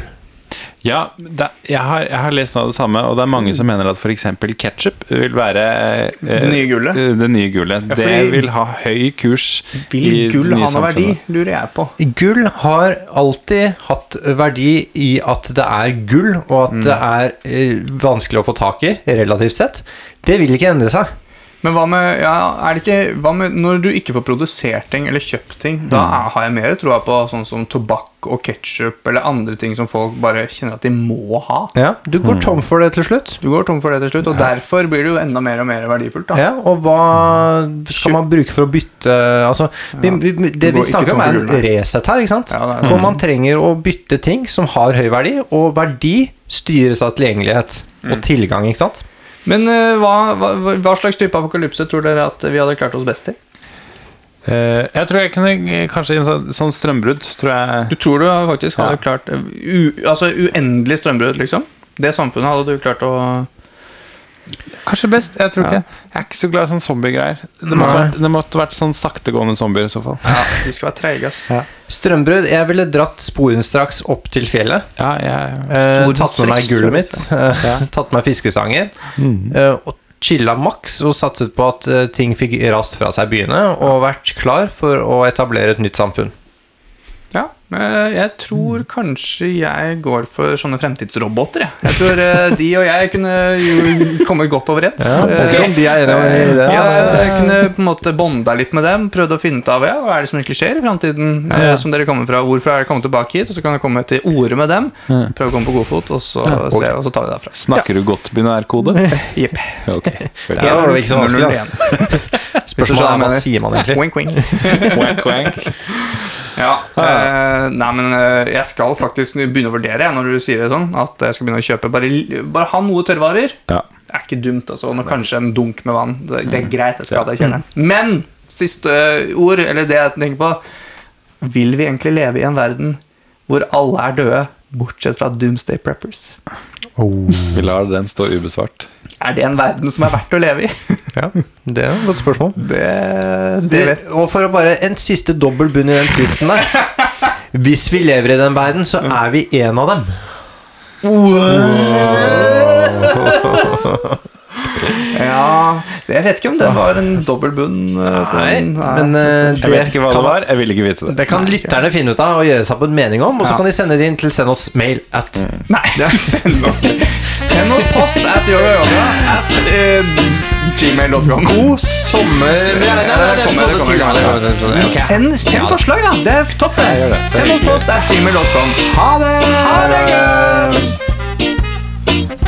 Speaker 2: Ja, det, jeg, har, jeg har lest noe av det samme, og det er mange som mener at f.eks. ketsjup vil være eh,
Speaker 1: Det nye gullet?
Speaker 2: eh, Det nye gullet.
Speaker 1: Ja,
Speaker 2: det
Speaker 1: fordi-
Speaker 2: vil ha høy kurs
Speaker 1: Vil
Speaker 2: i det
Speaker 1: gull
Speaker 2: nye
Speaker 1: ha noe verdi, Eh,
Speaker 2: samfunnet.
Speaker 1: lurer jeg på.
Speaker 3: Gull har alltid hatt verdi i at det er gull, og at det er eh, vanskelig å få tak i, relativt sett. Det vil ikke endre seg.
Speaker 1: Men hva med, ja, er det ikke, hva med når du ikke får produsert ting eller kjøpt ting? Da er, har jeg mer troa på sånn som tobakk og ketsjup eller andre ting som folk bare kjenner at de må ha.
Speaker 3: Ja, du går tom for det til slutt.
Speaker 1: Du går tom for det til slutt, og derfor blir det jo enda mer og mer verdifullt. da.
Speaker 3: Ja, og hva skal man bruke for å bytte Altså, vi, vi, det
Speaker 1: Du går
Speaker 3: vi
Speaker 1: ikke
Speaker 3: snakker om,
Speaker 1: tom for
Speaker 3: er
Speaker 1: gull,
Speaker 3: en
Speaker 1: nei.
Speaker 3: reset her, ikke sant?
Speaker 1: Ja, det er Mm. det.
Speaker 3: Hvor man trenger å bytte ting som har høy verdi, og verdi styres av tilgjengelighet
Speaker 1: Mm.
Speaker 3: og tilgang, ikke sant?
Speaker 1: Men eh, hva, hva, hva slags type apokalypse tror dere at vi hadde klart oss best til?
Speaker 2: Eh, jeg tror jeg kunne kanskje i en sånn, sånn strømbrudd tror jeg,
Speaker 1: Du tror du faktisk hadde
Speaker 2: Ja.
Speaker 1: klart u, Altså uendelig strømbrudd, liksom? Det samfunnet hadde du klart å
Speaker 2: Kanskje best. Jeg tror
Speaker 1: Ja.
Speaker 2: ikke Jeg er ikke så glad i sånn zombiegreier. Det, måtte
Speaker 3: Nei.
Speaker 2: vært- det måtte vært sånn saktegående zombier i så fall.
Speaker 1: Ja, de skal være treige, ass.
Speaker 3: Strømbrudd. Jeg ville dratt sporenstraks opp til fjellet.
Speaker 2: Ja, jeg,
Speaker 3: Eh,
Speaker 1: Sporenstraks,
Speaker 3: tatt med meg gullet mitt. Eh,
Speaker 2: Ja.
Speaker 3: Tatt med meg fiskesanger.
Speaker 2: Mm.
Speaker 3: eh, og chilla maks og satset på at eh, ting fikk raskt fra seg byene. Og vært klar for å etablere et nytt samfunn.
Speaker 1: Ja, eh, jeg tror kanskje jeg går for sånne fremtidsroboter, jeg. Jeg tror eh, de og jeg kunne jo komme godt overens.
Speaker 3: Vet
Speaker 1: Eh,
Speaker 3: ikke om de er enige i det.
Speaker 1: Ja,
Speaker 3: men-
Speaker 1: jeg kunne på en måte bonda litt med dem, prøvd å finne ut av ja, hva er det som egentlig skjer i framtiden. eh,
Speaker 2: Ja.
Speaker 1: Som dere kommer fra, hvorfor er dere kommet tilbake hit? Og så kan jeg komme til orde med dem,
Speaker 2: Ja.
Speaker 1: prøve å komme på godfot, og så,
Speaker 2: Ja.
Speaker 1: se, og så tar vi derfra.
Speaker 2: Snakker du godt binærkode?
Speaker 1: Jepp.
Speaker 2: Ja, ok. Veldig
Speaker 3: Ja, det var jo ikke så vanskelig, da.
Speaker 1: 001. Hvis du
Speaker 3: Spørsmålet er
Speaker 1: skjønner hva
Speaker 3: hva
Speaker 1: jeg
Speaker 3: sier man egentlig?
Speaker 1: Wink, wink.
Speaker 2: Wank, wank.
Speaker 1: Ja, eh, nei, men eh, jeg skal faktisk begynne å vurdere jeg, når du sier det sånn, at jeg skal begynne å kjøpe bare, bare ha noe tørrvarer.
Speaker 2: Ja.
Speaker 1: Det er ikke dumt, altså. Og kanskje en dunk med vann. Det, det
Speaker 3: Mm.
Speaker 1: er greit, jeg skal ha det, jeg kjenner jeg. Men siste eh, ord, eller det jeg tenker på Vil vi egentlig leve i en verden hvor alle er døde, bortsett fra Doomsday Preppers? Oh.
Speaker 2: Vi lar den stå ubesvart.
Speaker 1: Er det en verden som er verdt å leve i?
Speaker 3: Ja, det er et godt spørsmål.
Speaker 1: Det, det vet
Speaker 3: Det, og for å bare en siste dobbel bunn i den tvisten der Hvis vi lever i den verden, så er vi en av dem.
Speaker 1: Ja, det- jeg vet ikke om det var en dobbel bunn. eh, på
Speaker 3: Nei,
Speaker 1: den. Nei.
Speaker 3: men eh,
Speaker 2: Jeg vet ikke hva det
Speaker 3: kan,
Speaker 2: var. Jeg ville ikke vite det.
Speaker 3: det kan lytterne finne ut av og gjøre seg på en mening om. Og så
Speaker 1: Ja. Mm.
Speaker 3: kan de sende det inn til send oss mail at
Speaker 1: Nei, send oss, send oss post at yoyoyoga at eh, gmail.com.
Speaker 3: God sommer
Speaker 1: Nei, nei, nei, det kommer, det kommer, det kommer. Send, send forslag, da! Det er topp, det. Send oss post at gmail.com.
Speaker 3: Ha det!
Speaker 1: Ha det gøy!